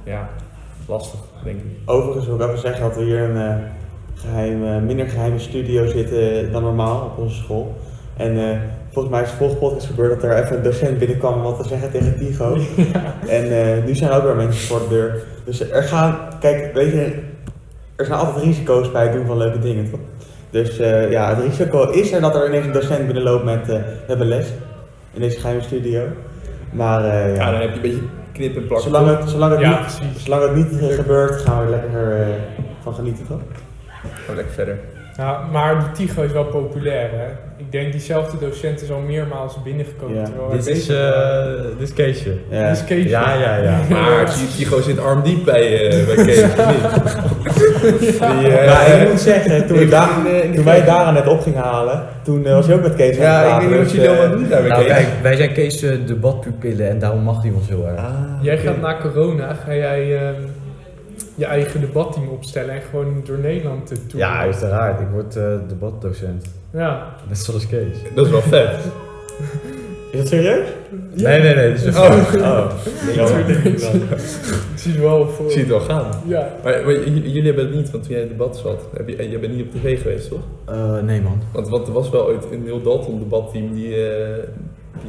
Speaker 2: ja, lastig, denk ik.
Speaker 1: Overigens wil ik even zeggen dat we hier een eh, geheim, eh, minder geheime studio zitten dan normaal op onze school. En eh, volgens mij is de vorige podcast gebeurd dat er even een docent binnenkwam om wat te zeggen tegen Tigo. En eh, nu zijn er ook weer mensen voor de deur. Dus er gaan, kijk, weet je, er zijn altijd risico's bij het doen van leuke dingen, toch? Dus eh, ja, het risico is er dat er ineens een docent binnenloopt met, eh we hebben les in deze geheime studio. Maar eh,
Speaker 2: Ja, dan
Speaker 1: ja,
Speaker 2: heb je een beetje knip en plak.
Speaker 1: zolang het, zolang het
Speaker 4: Ja,
Speaker 1: niet
Speaker 4: precies.
Speaker 1: Zolang het niet eh, gebeurt, gaan we er lekker eh, van genieten, toch?
Speaker 2: Gewoon Oh, lekker verder.
Speaker 4: Ja, maar die Tigo is wel populair, hè? Ik denk diezelfde docent is al meermaals binnengekomen.
Speaker 1: Ja.
Speaker 4: terwijl
Speaker 3: dit,
Speaker 4: wij
Speaker 3: is,
Speaker 4: bezig waren.
Speaker 3: eh, dit is Keesje.
Speaker 1: Ja.
Speaker 4: Dit is Kees.
Speaker 3: Ja, ja, ja.
Speaker 2: Maar Tigo zit armdiep bij, eh bij Kees, of niet? Die, eh,
Speaker 1: Maar ik moet zeggen, toen,
Speaker 2: Ik
Speaker 1: ik daar,
Speaker 2: ging, eh, in de
Speaker 1: toen wij
Speaker 2: keuken.
Speaker 1: Dara net op gingen halen, toen eh, was je ook met Kees aan het
Speaker 2: ja, ik
Speaker 1: praten,
Speaker 2: weet niet wat
Speaker 1: dus,
Speaker 2: je dan
Speaker 1: eh,
Speaker 2: wel doet daar bij
Speaker 3: Nou,
Speaker 2: Kees.
Speaker 3: kijk, wij zijn Kees eh, debatpupillen en daarom mag hij ons heel erg.
Speaker 4: Jij gaat na corona, ga jij ehm, je eigen debatteam opstellen en gewoon door Nederland te toeren.
Speaker 3: Ja, uiteraard. Ik word eh, debatdocent.
Speaker 4: Ja.
Speaker 3: Net zoals Kees.
Speaker 2: Dat is wel vet.
Speaker 1: Is dat serieus?
Speaker 3: Nee, nee, nee. Dit is een
Speaker 2: Oh.
Speaker 1: Oh,
Speaker 4: Ik zie het wel voor.
Speaker 2: Ik zie het wel gaan.
Speaker 4: Ja.
Speaker 2: Maar, maar j- jullie hebben het niet, want toen jij in het debat zat, heb je, jij bent niet op tv geweest, toch?
Speaker 3: Eh, nee, man.
Speaker 2: Want, want er was wel ooit een heel Dalton debatteam die, eh,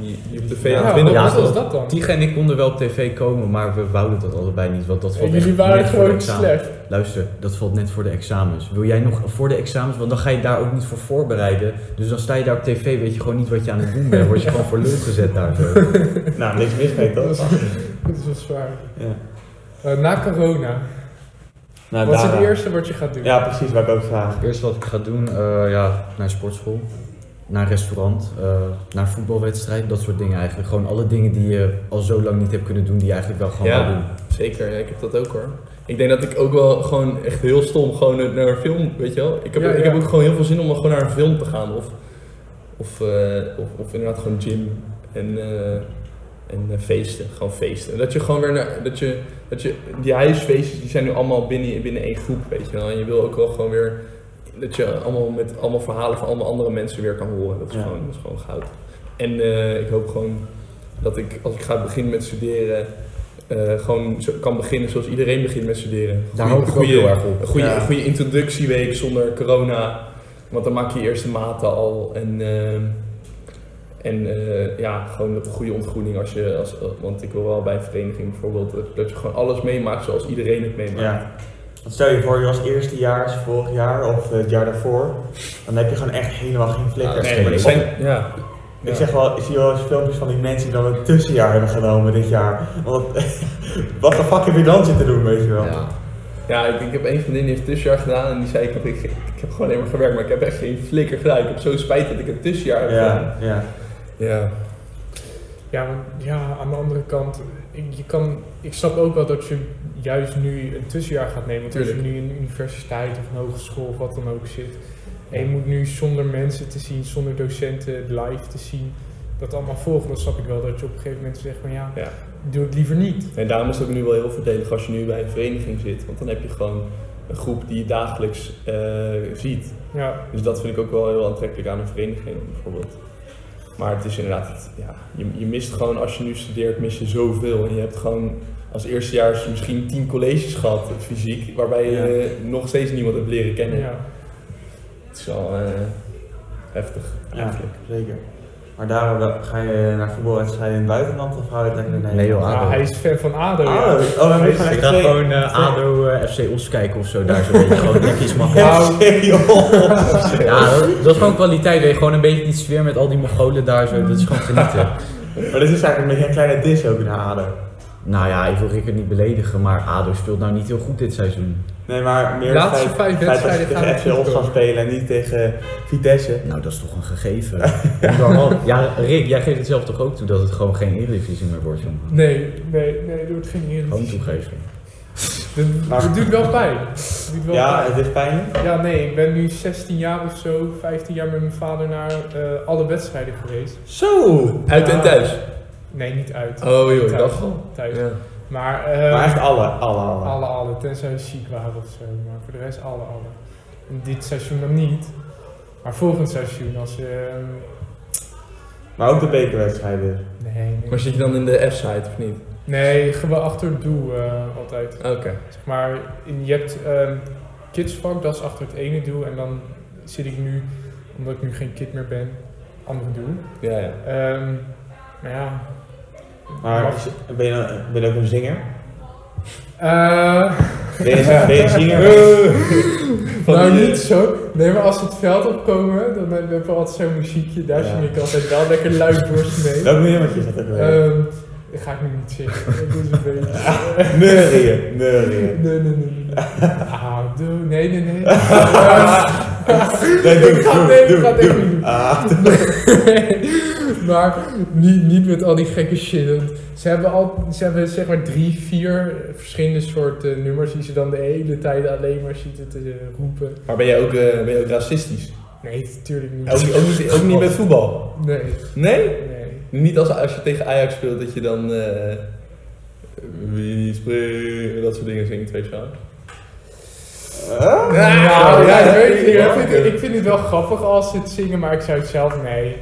Speaker 2: die, die op de
Speaker 4: Ja,
Speaker 2: V28
Speaker 4: wat
Speaker 3: ja,
Speaker 4: was
Speaker 3: dat-
Speaker 4: dat dan?
Speaker 3: Tiege en ik konden wel op tv komen, maar we wouden dat allebei niet, want dat valt
Speaker 4: Jullie
Speaker 3: echt
Speaker 4: waren
Speaker 3: net voor de
Speaker 4: gewoon
Speaker 3: examens.
Speaker 4: slecht.
Speaker 3: Luister, dat valt net voor de examens. Wil jij nog voor de examens, want dan ga je daar ook niet voor voorbereiden. Dus dan sta je daar op tv, weet je gewoon niet wat je aan het doen bent. Word je gewoon voor lul gezet daar zo.
Speaker 1: Nou, niks mis mee
Speaker 4: Dat
Speaker 1: toch?
Speaker 4: is, dat is wel zwaar.
Speaker 1: Ja.
Speaker 4: Eh, na corona,
Speaker 1: Nou,
Speaker 4: wat is het
Speaker 1: daaraan.
Speaker 4: eerste wat je gaat doen?
Speaker 1: Ja, precies, wat ik ook vraag.
Speaker 3: Eerst wat ik ga doen, eh, ja, naar sportschool, naar restaurant, eh, naar voetbalwedstrijd, dat soort dingen eigenlijk. Gewoon alle dingen die je al zo lang niet hebt kunnen doen, die je eigenlijk wel gewoon
Speaker 2: Ja.
Speaker 3: wil doen.
Speaker 2: Zeker, ja, ik heb dat ook hoor. Ik denk dat ik ook wel gewoon echt heel stom gewoon naar- naar een film, weet je wel. Ik heb,
Speaker 4: Ja,
Speaker 2: ik
Speaker 4: ja.
Speaker 2: heb ook gewoon heel veel zin om gewoon naar een film te gaan. Of, of, eh, of, of inderdaad gewoon gym en, eh, en eh, feesten, gewoon feesten. En dat je gewoon weer naar, dat je, dat je, die huisfeestjes die zijn nu allemaal binnen, binnen één groep, weet je wel. En je wil ook wel gewoon weer, dat je allemaal met allemaal verhalen van allemaal andere mensen weer kan horen. Dat is,
Speaker 1: Ja.
Speaker 2: gewoon, dat is gewoon goud. En eh, ik hoop gewoon dat ik, als ik ga beginnen met studeren, eh, gewoon zo- kan beginnen zoals iedereen begint met studeren.
Speaker 3: Daar
Speaker 2: Goeie-
Speaker 3: hoop ik ook
Speaker 2: goeie-
Speaker 3: heel erg op.
Speaker 2: Een goede,
Speaker 1: Ja.
Speaker 2: een goede introductieweek zonder corona. Want dan maak je je eerste maten al. En, ehm, en eh, ja, gewoon een goede ontgroening. Als je, als, want ik wil wel bij een vereniging bijvoorbeeld dat- dat je gewoon alles meemaakt zoals iedereen het meemaakt.
Speaker 1: Ja. Want stel je voor, je was eerstejaars vorig jaar of eh, het jaar daarvoor, dan heb je gewoon echt helemaal geen
Speaker 2: Ja,
Speaker 1: flikker.
Speaker 2: Ah, nee, maar er
Speaker 1: Of-
Speaker 2: zijn, ja.
Speaker 1: Ik zeg wel, ik zie wel eens filmpjes van die mensen die dan een tussenjaar hebben genomen dit jaar. Want wat de fuck heb je dan zitten doen, weet je wel?
Speaker 2: Ja. Ja, ik, ik heb één vriendin die heeft tussenjaar gedaan en die zei ik, heb- ik, ik heb gewoon alleen maar gewerkt, maar ik heb echt geen flikker gedaan. Ik heb zo spijt dat ik het tussenjaar heb gedaan.
Speaker 1: ja. ja.
Speaker 2: Ja.
Speaker 4: Ja, want- ja, aan de andere kant, ik, je kan, ik snap ook wel dat je juist nu een tussenjaar gaat nemen. Want als je
Speaker 2: Tuurlijk.
Speaker 4: nu in een universiteit of een hogeschool of wat dan ook zit. En je moet nu zonder mensen te zien, zonder docenten live te zien, dat allemaal volgen. Dat snap ik wel, dat je op een gegeven moment zegt van ja,
Speaker 2: Ja.
Speaker 4: doe ik liever niet.
Speaker 2: En daarom is het ook nu wel heel voordelig als je nu bij een vereniging zit, want dan heb je gewoon een groep die je dagelijks eh, ziet.
Speaker 4: Ja,
Speaker 2: Dus dat vind ik ook wel heel aantrekkelijk aan een vereniging bijvoorbeeld. Maar het is inderdaad, het- ja, je, je mist gewoon als je nu studeert, mis je zoveel. En je hebt gewoon als eerstejaars misschien tien colleges gehad, fysiek, waarbij je
Speaker 1: Ja.
Speaker 2: eh, nog steeds niemand hebt leren kennen.
Speaker 4: ja.
Speaker 2: Het is wel eh, heftig eigenlijk.
Speaker 1: zeker. Maar daarom wel- ga je naar voetbalwedstrijden in het buitenland of hou je het lekker in
Speaker 3: Nee, joh,
Speaker 1: Nederland?
Speaker 4: Ah,
Speaker 3: ADO.
Speaker 4: hij is fan van ADO. ja.
Speaker 1: ADO. Oh, we hebben
Speaker 3: Ik
Speaker 1: echt
Speaker 3: ga
Speaker 1: twee.
Speaker 3: gewoon eh, ADO eh, FC Os kijken of zo, daar zo weet je gewoon ik kies makkelijk.
Speaker 4: Nou.
Speaker 1: FC, joh.
Speaker 3: Ja, dat, dat is gewoon kwaliteit, weet je. Gewoon een beetje die sfeer met al die Mongolen daar zo, dat is gewoon genieten.
Speaker 1: Maar dit is eigenlijk een beetje een kleine dis ook naar ADO.
Speaker 3: nou ja, ik wil Rickert niet beledigen, maar ADO speelt nou niet heel goed dit seizoen.
Speaker 1: Nee, maar meer
Speaker 4: De laatste vijf
Speaker 1: het feit dat je
Speaker 4: wedstrijden gaan
Speaker 1: tegen
Speaker 4: we
Speaker 1: FC
Speaker 4: goed
Speaker 1: Os
Speaker 4: komen.
Speaker 1: gaan spelen en niet tegen Vitesse.
Speaker 3: Nou, dat is toch een gegeven. Ja, ja, Rick, jij geeft het zelf toch ook toe dat het gewoon geen Eredivisie meer wordt, jongen.
Speaker 4: Nee, nee, nee, doe het geen
Speaker 3: Gewoon
Speaker 4: Eredivisie.
Speaker 3: toegeven.
Speaker 4: Het
Speaker 1: Maar-
Speaker 4: het doet wel pijn. Het doet wel
Speaker 1: Ja,
Speaker 4: pijn.
Speaker 1: het is pijnlijk.
Speaker 4: Ja, nee, ik ben nu 16 jaar of zo, 15 jaar met mijn vader naar eh, alle wedstrijden geweest.
Speaker 1: Zo!
Speaker 2: Uit en
Speaker 4: Ja.
Speaker 2: thuis.
Speaker 4: Nee, niet uit.
Speaker 2: Oh joh, ik
Speaker 4: Thuis.
Speaker 2: dacht al.
Speaker 4: Thuis.
Speaker 2: Ja.
Speaker 4: Maar, eh,
Speaker 1: Maar echt alle, alle, alle.
Speaker 4: alle, alle. Tenzij ze ziek waren of zo. Maar voor de rest alle, alle. En dit seizoen dan niet. Maar volgend seizoen als ze...
Speaker 1: Maar ook de bekerwedstrijden.
Speaker 4: nee,
Speaker 2: Maar
Speaker 4: nee.
Speaker 2: zit je dan in de F-site of niet?
Speaker 4: Nee, gewoon achter het doel eh, altijd.
Speaker 2: Oké.
Speaker 4: Zeg maar, in- je hebt ehm kidsvak, dat is achter het ene doel. En dan zit ik nu, omdat ik nu geen kid meer ben, andere doel.
Speaker 2: Ja, ja.
Speaker 4: Ehm maar ja.
Speaker 1: Maar
Speaker 4: Mag-
Speaker 1: ben je, dan- ben je ook een zinger?
Speaker 4: Eh,
Speaker 1: Ben je, ben je een zinger?
Speaker 2: Van
Speaker 4: nou,
Speaker 2: die-
Speaker 4: niet zo. Nee, maar als we het veld opkomen, dan hebben we altijd zo'n muziekje. Daar
Speaker 1: Ja.
Speaker 4: zing ik altijd wel lekker luid borst mee.
Speaker 1: Welk nummertje is dat ook weer?
Speaker 4: Ehm dat ga ik nu niet zingen. Dat is een beetje...
Speaker 1: Neurieën, neurieën.
Speaker 4: Nee, nee, nee, nee. nee. Ah, doe, nee, nee, nee.
Speaker 1: Nee,
Speaker 4: Ik ga het- nee, ik ga het echt niet doen.
Speaker 1: Ah,
Speaker 4: maar niet, niet met al die gekke shit. Ze hebben, al, ze hebben zeg maar drie, vier verschillende soorten nummers die ze dan de hele tijd alleen maar zitten te eh, roepen.
Speaker 2: Maar ben jij ook, eh, ben jij ook racistisch?
Speaker 4: Nee, natuurlijk niet.
Speaker 2: Ook, ook, niet, ook niet met voetbal?
Speaker 4: Nee,
Speaker 2: Nee?
Speaker 4: nee.
Speaker 2: Niet als, als je tegen Ajax speelt dat je dan... eh, wie spreekt... Dat soort dingen zingt, weet je wel.
Speaker 1: Ah?
Speaker 4: Nou, ja, ik, weet, het niet.
Speaker 2: ja.
Speaker 4: ik, vind, het- ik vind het wel grappig als ze het zingen, maar ik zou het zelf nee.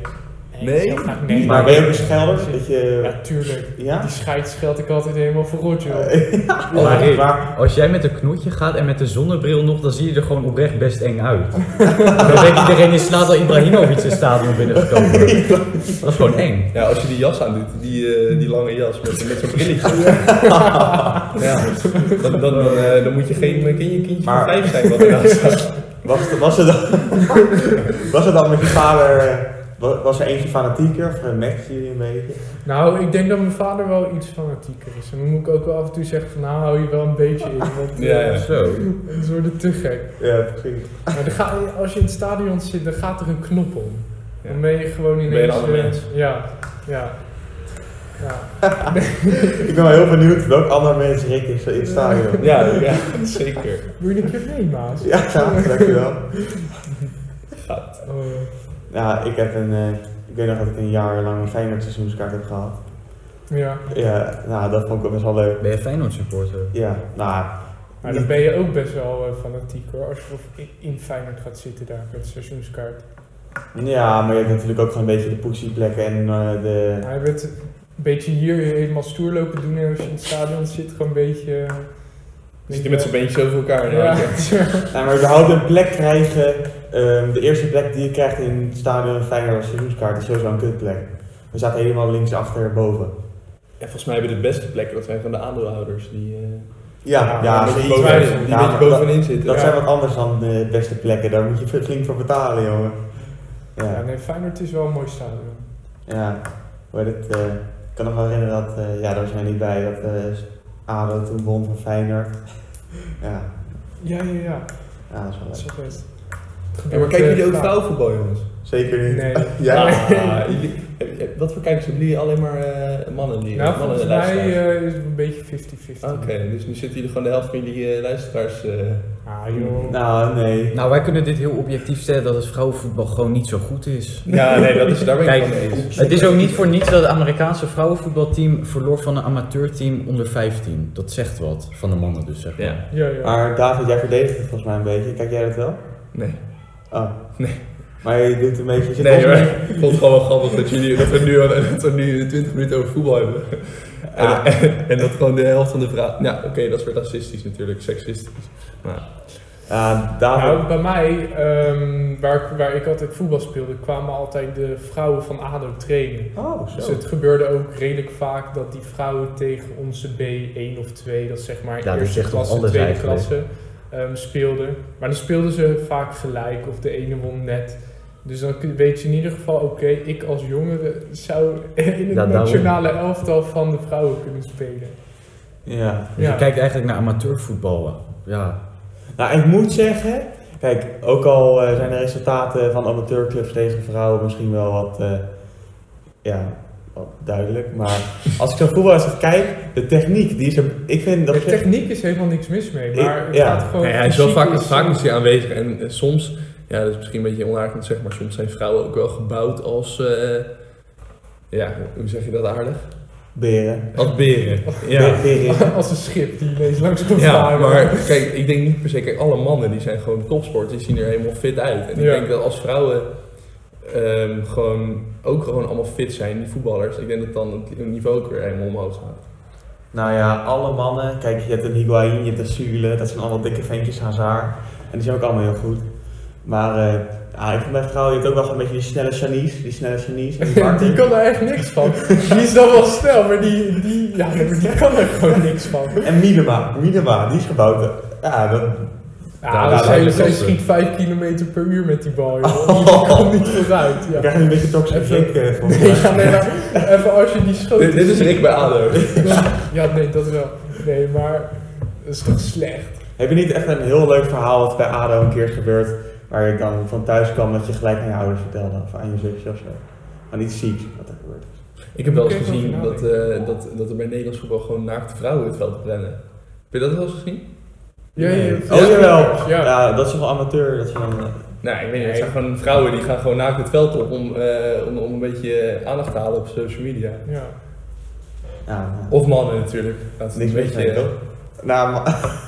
Speaker 2: Nee?
Speaker 4: ik zeg graag nee.
Speaker 1: Maar ben je ook een schelder? Dat je...
Speaker 4: Ja, tuurlijk.
Speaker 1: Ja?
Speaker 4: Die scheids scheld ik altijd helemaal voor rot,
Speaker 1: Eh,
Speaker 4: joh.
Speaker 1: Ja,
Speaker 3: maar Rick,
Speaker 1: waar-
Speaker 3: Als jij met een knoetje gaat en met een zonnebril nog, dan zie je er gewoon oprecht best eng uit. dan denkt iedereen in slaat dat Ibrahimovic in het stadion binnengekomen wordt. Dat is gewoon eng.
Speaker 2: Ja, als je die jas aandoet, die, eh, die lange jas met, met zo'n brilletje. ja, dan, dan, dan, eh, dan moet je geen eh, kindje, kindje
Speaker 1: Maar-
Speaker 2: van vijf zijn wat ernaast staat.
Speaker 1: Was, het- was, het dan, was het dan met je vader... eh, wa- Was er eentje fanatieker of eh, matchte jullie een beetje?
Speaker 4: Nou, ik denk dat mijn vader wel iets fanatieker is. En dan moet ik ook wel af en toe zeggen van, nou hou je wel een beetje in. Want
Speaker 2: Ja, ja.
Speaker 3: Zo.
Speaker 4: het wordt het te gek.
Speaker 1: Ja, precies.
Speaker 4: Maar er gaat- als je in het stadion zit, dan gaat er een knop om.
Speaker 2: Ja.
Speaker 4: Dan ben je gewoon ineens...
Speaker 2: Ben je een ander
Speaker 4: eh,
Speaker 2: mens.
Speaker 4: Ja, ja. ja.
Speaker 1: Ik ben wel heel benieuwd welk ander mens Rick is eh, in het stadion.
Speaker 2: Ja, ja, zeker.
Speaker 4: Wil je een keer mee, Maas?
Speaker 1: Ja, graag, dankjewel.
Speaker 4: Oh,
Speaker 1: Ja, ik heb een... eh, ik weet nog dat ik een jaar lang een Feyenoord seizoenskaart heb gehad.
Speaker 4: ja.
Speaker 1: Ja, nou, dat vond ik ook best wel leuk.
Speaker 3: Ben je Feyenoord supporter?
Speaker 1: Ja, nou...
Speaker 4: Maar dan ben je ook best wel eh, fanatiek hoor, als je of in- in Feyenoord gaat zitten daar met de seizoenskaart.
Speaker 1: Ja, maar je hebt natuurlijk ook gewoon een beetje de poesieplekken en eh, de...
Speaker 4: Hij werd een beetje hier helemaal stoer lopen doen en als je in het stadion zit, gewoon een beetje... eh,
Speaker 2: Zit je met zijn beentjes over elkaar?
Speaker 4: Ja,
Speaker 2: Ja.
Speaker 1: Nou, maar überhaupt een plek krijgen, ehm, de eerste plek die je krijgt in het stadion Feyenoord als seizoenskaart is sowieso een kutplek. We zaten helemaal links achter boven.
Speaker 2: En volgens mij hebben de beste plekken, dat zijn van de aandeelhouders. Die, eh,
Speaker 1: Ja, ja,
Speaker 4: Ja,
Speaker 2: een beetje
Speaker 1: die-
Speaker 2: bovenin,
Speaker 4: twijfel.
Speaker 2: die
Speaker 1: Ja,
Speaker 2: een beetje
Speaker 1: dat-
Speaker 2: bovenin zitten.
Speaker 1: dat
Speaker 4: ja.
Speaker 1: zijn wat anders dan de beste plekken, daar moet je flink voor betalen, jongen.
Speaker 4: Ja,
Speaker 1: Ja,
Speaker 4: nee, Feyenoord is wel een mooi stadion.
Speaker 1: ja. Hoe heet het, eh, ik kan nog wel herinneren dat, eh, ja, daar zijn we niet bij, dat eh ADO toen won van Feyenoord. ja,
Speaker 4: Ja, ja, ja.
Speaker 1: ja, Ah, dat is wel
Speaker 4: Dat is
Speaker 1: leuk.
Speaker 4: wel best.
Speaker 2: Ja, maar kijken jullie ook vrouwenvoetbal, jongens?
Speaker 1: Zeker niet.
Speaker 4: Nee.
Speaker 1: Ja.
Speaker 2: Ah, jullie- eh, eh, wat voor kijkers hebben jullie? Alleen maar eh, mannen die
Speaker 4: Nou,
Speaker 2: mannen
Speaker 4: volgens mij
Speaker 2: luisteraars?
Speaker 4: eh, is het een beetje 50-50.
Speaker 2: Oké, dus nu zitten jullie gewoon de helft van jullie eh, luisteraars. eh,
Speaker 4: Ah joh.
Speaker 1: Nou, nee.
Speaker 3: Nou, wij kunnen dit heel objectief stellen dat het vrouwenvoetbal gewoon niet zo goed is.
Speaker 2: Ja, nee, dat is, daar ben ik
Speaker 3: Kijk,
Speaker 2: van eens.
Speaker 3: Het is ook niet voor niets dat het Amerikaanse vrouwenvoetbalteam verloor van een amateurteam onder 15. Dat zegt wat, van de mannen dus zeg maar.
Speaker 2: Ja.
Speaker 4: Ja, ja.
Speaker 1: Maar David, jij verdedigt het volgens mij een beetje. Kijk jij dat wel?
Speaker 2: Nee.
Speaker 1: Oh.
Speaker 2: Nee.
Speaker 1: Maar je doet een beetje... je zit
Speaker 2: Nee,
Speaker 1: ons-
Speaker 2: maar ik vond het gewoon wel grappig dat, jullie, dat, we nu, dat we nu 20 minuten over voetbal hebben. En,
Speaker 1: Ah.
Speaker 2: en, en dat gewoon de helft van de vraag. Ja, oké, dat is weer racistisch natuurlijk, seksistisch.
Speaker 1: Ja, David.
Speaker 4: Nou, bij mij, ehm, waar, ik- waar ik altijd voetbal speelde, kwamen altijd de vrouwen van ADO trainen.
Speaker 1: Oh,
Speaker 4: Dus
Speaker 1: zo.
Speaker 4: het gebeurde ook redelijk vaak dat die vrouwen tegen onze B1 of 2, dat is zeg maar
Speaker 3: Ja, dat
Speaker 4: eerste
Speaker 3: zegt toch
Speaker 4: klasse,
Speaker 3: alles
Speaker 4: tweede
Speaker 3: eigenlijk.
Speaker 4: klasse, ehm, speelden. Maar dan speelden ze vaak gelijk of de ene won net. Dus dan kun- weet je in ieder geval, oké, ik als jongere zou in het
Speaker 3: Ja, daarom.
Speaker 4: nationale elftal van de vrouwen kunnen spelen.
Speaker 1: Ja.
Speaker 3: Dus
Speaker 4: Ja.
Speaker 3: je kijkt eigenlijk naar amateurvoetbal. Ja.
Speaker 1: Nou, ik moet zeggen... Kijk, ook al eh, zijn de resultaten van amateurclubs tegen vrouwen misschien wel wat... eh, ja, wat duidelijk. Maar als ik zo'n voetbalwedstrijd kijk, de techniek, die is er... Ik vind dat...
Speaker 4: De techniek is helemaal niks mis mee, maar
Speaker 1: Ik-
Speaker 4: het
Speaker 1: ja.
Speaker 4: gaat gewoon...
Speaker 2: Nee, hij is wel
Speaker 4: fysiek
Speaker 2: vaak, vaak is hij aanwezig. En eh, soms, ja, dat is misschien een beetje onaardig om te zeggen, maar soms zijn vrouwen ook wel gebouwd als. eh, ja, hoe zeg je dat aardig?
Speaker 1: Beren.
Speaker 2: Als beren.
Speaker 1: Be- Beren.
Speaker 4: Als een schip die ineens langs komt
Speaker 2: Ja,
Speaker 4: varen.
Speaker 2: maar kijk, ik denk niet per se, kijk, alle mannen die zijn gewoon topsporters, die zien er helemaal fit uit. En ik
Speaker 4: Ja.
Speaker 2: denk dat als vrouwen ehm, gewoon ook gewoon allemaal fit zijn, die voetballers, ik denk dat dan het niveau ook weer helemaal omhoog gaat.
Speaker 1: Nou ja, alle mannen. Kijk, je hebt een Higuain, je hebt een Sule, dat zijn allemaal dikke ventjes, Hazard. En die zijn ook allemaal heel goed. Maar eh ja, ik vind bij vrouwen, je hebt ook wel een beetje die snelle Chinese, die snelle Chinese. en die Martin.
Speaker 4: Die kan er echt niks van. Die is dan wel snel, maar die, die, ja, maar die kan er gewoon niks van.
Speaker 1: En Minema, Minema, die is gebouwd. eh, Ja, dat,
Speaker 4: Ja, dus
Speaker 1: daar
Speaker 4: dat
Speaker 1: lijkt
Speaker 4: hele
Speaker 1: het
Speaker 4: zij
Speaker 1: op, hè.
Speaker 4: schiet 5 km per uur met die bal. joh. Die kan niet vooruit.
Speaker 1: ik
Speaker 4: Ja.
Speaker 1: krijg een beetje toxic
Speaker 4: Even-
Speaker 1: Rick eh, volgens
Speaker 4: Nee,
Speaker 1: mij.
Speaker 4: ja, nee, maar even als je die schoot.
Speaker 2: Dit, dit is Rick bij ADO.
Speaker 4: Ja, nee, dat wel. Nee, maar dat is toch slecht.
Speaker 1: Heb je niet echt een heel leuk verhaal wat bij ADO een keer is gebeurd, waar je dan van thuis kwam dat je gelijk aan je ouders vertelde, of aan je zusje of zo? Maar niet ziek, wat er gebeurd is.
Speaker 2: Ik heb wel eens
Speaker 4: Moet ik even
Speaker 2: gezien
Speaker 4: over
Speaker 2: dat, eh, dat, dat er bij Nederlands voetbal gewoon naakte vrouwen het veld op rennen. Heb je dat wel eens gezien?
Speaker 4: Ja, ja, ja.
Speaker 1: Oh jawel,
Speaker 4: Ja.
Speaker 1: ja. dat is toch wel amateur, dat is dan... eh,
Speaker 2: Nou, ik weet niet. Het zijn gewoon vrouwen die gaan gewoon naakt het veld op om, eh, om, om een beetje aandacht te halen op social media.
Speaker 4: Ja.
Speaker 1: Ja, nou.
Speaker 2: Of mannen natuurlijk. Dat is
Speaker 1: Niks
Speaker 2: een
Speaker 1: mis mee,
Speaker 2: beetje.
Speaker 1: toch? Nou, maar-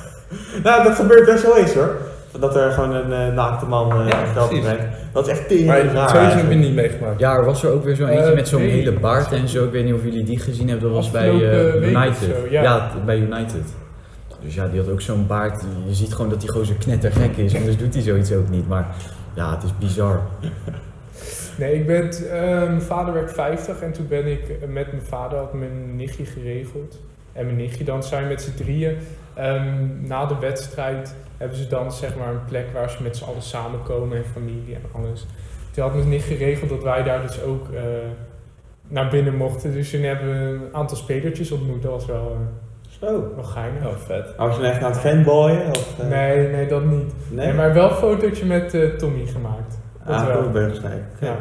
Speaker 1: nou, dat gebeurt best wel eens hoor. Dat er gewoon een eh, naakte man eh
Speaker 2: Ja,
Speaker 1: ja, geld
Speaker 2: precies.
Speaker 1: brengt. Dat is echt tering
Speaker 2: Maar
Speaker 1: raar
Speaker 2: zoiets heb je
Speaker 1: eigenlijk.
Speaker 2: niet meegemaakt.
Speaker 3: Ja, er was er ook weer zo eentje
Speaker 4: Eh,
Speaker 3: met zo'n
Speaker 4: nee.
Speaker 3: hele baard en zo. Ik weet niet of jullie die gezien hebben. Dat was bij
Speaker 4: Afgelopen
Speaker 3: eh,
Speaker 4: week of
Speaker 3: United.
Speaker 4: zo, ja.
Speaker 3: ja. t- bij United. Dus ja, die had ook zo'n baard. Je ziet gewoon dat die gozer knettergek is. Anders doet hij zoiets ook niet. Maar ja, het is bizar.
Speaker 4: Nee, ik ben, t- eh, mijn vader werd 50 en toen ben ik eh, met mijn vader, had mijn nichtje geregeld. En mijn nichtje dan zijn met z'n drieën. ehm, na de wedstrijd hebben ze dan zeg maar een plek waar ze met z'n allen samenkomen en familie en alles. Toen had mijn nicht geregeld dat wij daar dus ook eh, naar binnen mochten. Dus toen hebben we een aantal spelertjes ontmoet. Dat was wel, eh,
Speaker 1: Zo.
Speaker 4: wel geinig.
Speaker 2: Oh, vet.
Speaker 1: Maar was je nou echt aan het fanboyen? Of, eh,
Speaker 4: Nee, nee, dat niet.
Speaker 1: nee?
Speaker 4: Nee, maar wel een fotootje met eh, Tommy gemaakt. dat
Speaker 1: Ah,
Speaker 4: wel.
Speaker 1: Koningsbergsnij. Oké.
Speaker 4: Ja.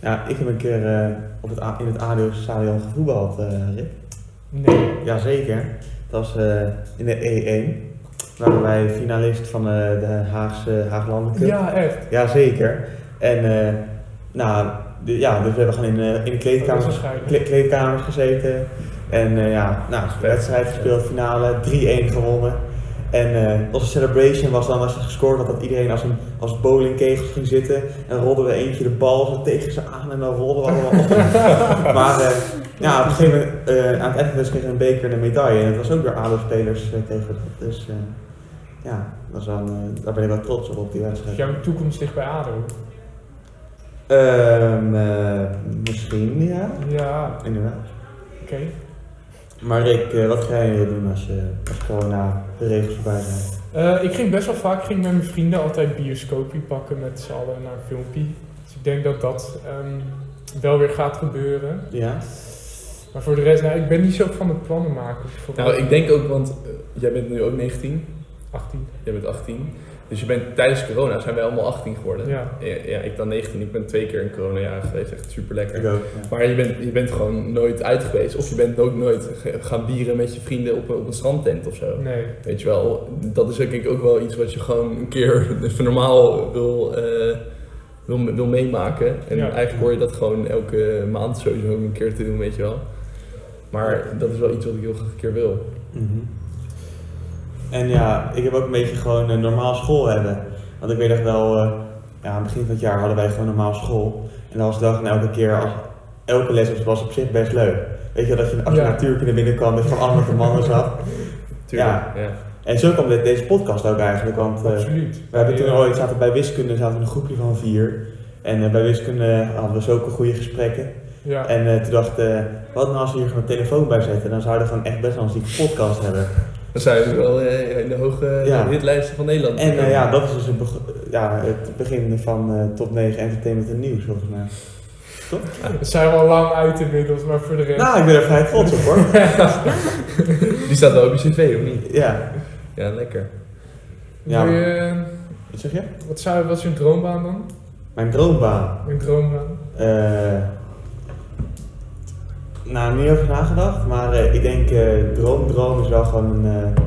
Speaker 1: Ja, ik heb een keer eh, op het, A- in het ADO-stadion gevoetbald, eh Rick.
Speaker 4: Nee.
Speaker 1: Jazeker. Dat was eh, in de E1. Waren wij finalist van eh, de Haagse Haaglanden Cup.
Speaker 4: Ja, echt.
Speaker 1: Jazeker. En eh, nou, de- ja, dus we hebben gewoon in, eh, in de
Speaker 4: Dat was
Speaker 1: kleedkamers,
Speaker 4: waarschijnlijk.
Speaker 1: kle- kleedkamers gezeten. En eh, ja, nou, wedstrijd gespeeld, finale, 3-1 gewonnen. En eh, onze celebration was dan als je gescoord had dat iedereen als, een, als bowlingkegels ging zitten. En rolden we eentje de bal zo tegen ze aan en dan rolden we allemaal op. maar eh, ja, op een gegeven moment, eh, aan het eind van de wedstrijd kregen we een beker en een medaille. En het was ook door ADO-spelers eh, tegen. Dus eh, ja, dat was wel, eh, daar ben ik wel trots op, op die wedstrijd.
Speaker 4: Dus jouw toekomst ligt bij ADO.
Speaker 1: Ehm, eh, misschien, ja.
Speaker 4: Ja,
Speaker 1: Inderdaad.
Speaker 4: oké.
Speaker 1: Maar Rick, eh, wat ga je doen als, je, als corona de regels voorbij zijn?
Speaker 4: Eh, ik ging best wel vaak ging met mijn vrienden altijd bioscoopie pakken met z'n allen naar een filmpje. Dus ik denk dat dat ehm, wel weer gaat gebeuren.
Speaker 1: Ja?
Speaker 4: Maar voor de rest, nou, ik ben niet zo van het plannen maken. Voor
Speaker 2: Nou, ik denk ook, want eh, jij bent nu ook 19.
Speaker 4: 18.
Speaker 2: Jij bent 18. Dus je bent tijdens corona zijn wij allemaal 18 geworden.
Speaker 4: Ja.
Speaker 2: Ja, ja, ik dan 19. Ik ben twee keer in corona geweest. Echt super lekker.
Speaker 1: Ik ook.
Speaker 2: Maar je bent, je bent gewoon nooit uit geweest. Of je bent ook nooit ge- gaan bieren met je vrienden op, een- op een strandtent of zo.
Speaker 4: Nee.
Speaker 2: Weet je wel, dat is denk ik ook wel iets wat je gewoon een keer even normaal wil, eh, wil, wil meemaken. En
Speaker 4: Ja.
Speaker 2: eigenlijk hoor je dat gewoon elke maand sowieso een keer te doen, weet je wel. Maar dat is wel iets wat ik heel graag een keer wil.
Speaker 1: Mhm. En ja, ik heb ook een beetje gewoon een normaal school hebben. Want ik weet echt wel, eh, ja, aan het begin van het jaar hadden wij gewoon normaal school. En dan was dag en elke keer, als, elke les was op zich best leuk. Weet je, wel, dat je als je
Speaker 4: Ja.
Speaker 1: natuurkunde binnenkwam, dat je van allemaal de mannen zat.
Speaker 2: Tuurlijk, ja.
Speaker 1: En zo kwam dit, deze podcast ook eigenlijk, want... eh,
Speaker 4: Absoluut.
Speaker 1: We hebben toen
Speaker 4: Ja.
Speaker 1: ooit, zaten bij wiskunde zaten we in een groepje van vier. En eh, bij wiskunde hadden we zulke goede gesprekken.
Speaker 4: Ja.
Speaker 1: En eh, toen dachten we, wat nou als we hier gewoon een telefoon bij zetten? Dan zouden we gewoon echt best wel een zieke podcast hebben.
Speaker 2: Dan zijn we wel eh, in de hoge
Speaker 1: Ja.
Speaker 2: hitlijsten van Nederland.
Speaker 1: En eh, ja, dat is dus het, beg- ja, het begin van eh, top 9 entertainment en nieuws volgens mij.
Speaker 4: We zijn wel lang uit inmiddels, maar voor de rest.
Speaker 1: Nou, ik ben er vrij trots op hoor.
Speaker 2: Die staat wel op je cv, of niet?
Speaker 1: ja,
Speaker 2: Ja, lekker.
Speaker 1: ja.
Speaker 4: Wil je,
Speaker 1: wat zeg je?
Speaker 4: eh, wat, zou, wat is je droombaan dan?
Speaker 1: Mijn droombaan.
Speaker 4: Een droombaan?
Speaker 1: Eh nou, niet over nagedacht, maar eh, ik denk eh, droom, droom is wel gewoon, eh,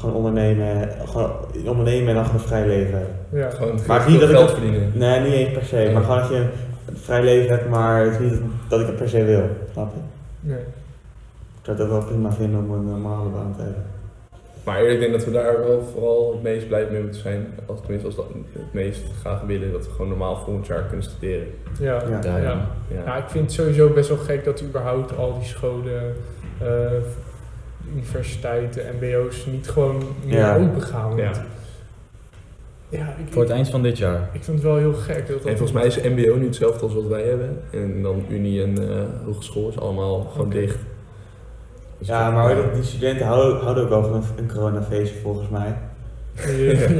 Speaker 1: gewoon ondernemen. eh, Gewoon ondernemen en dan gewoon vrij leven.
Speaker 4: Ja.
Speaker 2: Gewoon
Speaker 1: Maar
Speaker 2: veel
Speaker 1: niet dat ik
Speaker 2: geld
Speaker 1: dat-
Speaker 2: verdienen.
Speaker 1: Nee, niet eens per se, maar gewoon dat je een vrij leven hebt, maar het is niet dat ik het per se wil. Snap je?
Speaker 4: Nee.
Speaker 1: Ik zou het ook wel prima vinden om een normale baan te hebben.
Speaker 2: Maar eerlijk, ik denk dat we daar wel vooral het meest blij mee moeten zijn. Als, tenminste, als dat het meest graag willen, dat we gewoon normaal volgend jaar kunnen studeren.
Speaker 4: Ja.
Speaker 1: Ja.
Speaker 3: Ja,
Speaker 4: Ja.
Speaker 3: ja.
Speaker 2: Ja.
Speaker 4: Ja, ik vind het sowieso best wel gek dat überhaupt al die scholen, eh, universiteiten, mbo's niet gewoon meer
Speaker 1: Ja.
Speaker 4: open gaan. Want-
Speaker 2: Ja.
Speaker 4: Ja, ik,
Speaker 3: Voor het
Speaker 4: ik,
Speaker 3: eind van dit jaar.
Speaker 4: ik vind het wel heel gek. Dat dat
Speaker 2: En volgens mij is MBO nu hetzelfde als wat wij hebben. En dan Unie en eh, hogeschool is allemaal gewoon
Speaker 4: Oké.
Speaker 2: dicht. Dus
Speaker 1: Ja, maar hoor, die studenten houden, houden ook wel van een, een coronafeestje volgens mij.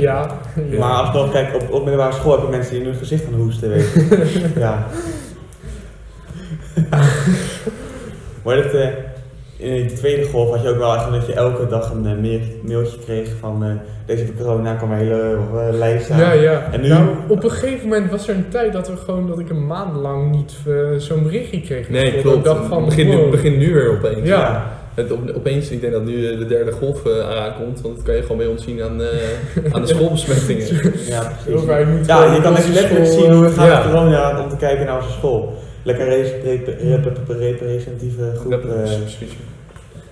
Speaker 4: Ja, ja.
Speaker 1: Maar alsnog, kijk, op, op middelbare school heb je mensen die nu hun gezicht aan hoesten, weet je. ja. maar dat, eh, in de tweede golf had je ook wel echt dat je elke dag een eh, mail- mailtje kreeg van eh, deze van corona kwam een hele eh, lijst aan.
Speaker 4: Ja, ja.
Speaker 1: En nu?
Speaker 4: Nou, op een gegeven moment was er een tijd dat, we gewoon, dat ik een maand lang niet eh, zo'n berichtje kreeg.
Speaker 2: Nee,
Speaker 4: Ik
Speaker 2: klopt.
Speaker 4: dacht van,
Speaker 2: Het begint nu,
Speaker 4: wow.
Speaker 2: begint nu weer opeens.
Speaker 4: Ja.
Speaker 2: Het, op- opeens, ik denk dat nu eh, de derde golf eh, eraan komt. Want dat kan je gewoon bij ons zien aan, eh, aan de schoolbesmettingen.
Speaker 1: Ja,
Speaker 4: De overheid moet
Speaker 1: Ja,
Speaker 4: gewoon
Speaker 1: je kan
Speaker 4: onze
Speaker 1: echt letterlijk
Speaker 4: school- eh,
Speaker 1: zien hoe het gaat
Speaker 2: ja.
Speaker 1: met corona om te kijken naar onze school. Lekker repre- repre- repre- representatieve groep
Speaker 2: Dat
Speaker 1: eh,
Speaker 2: is-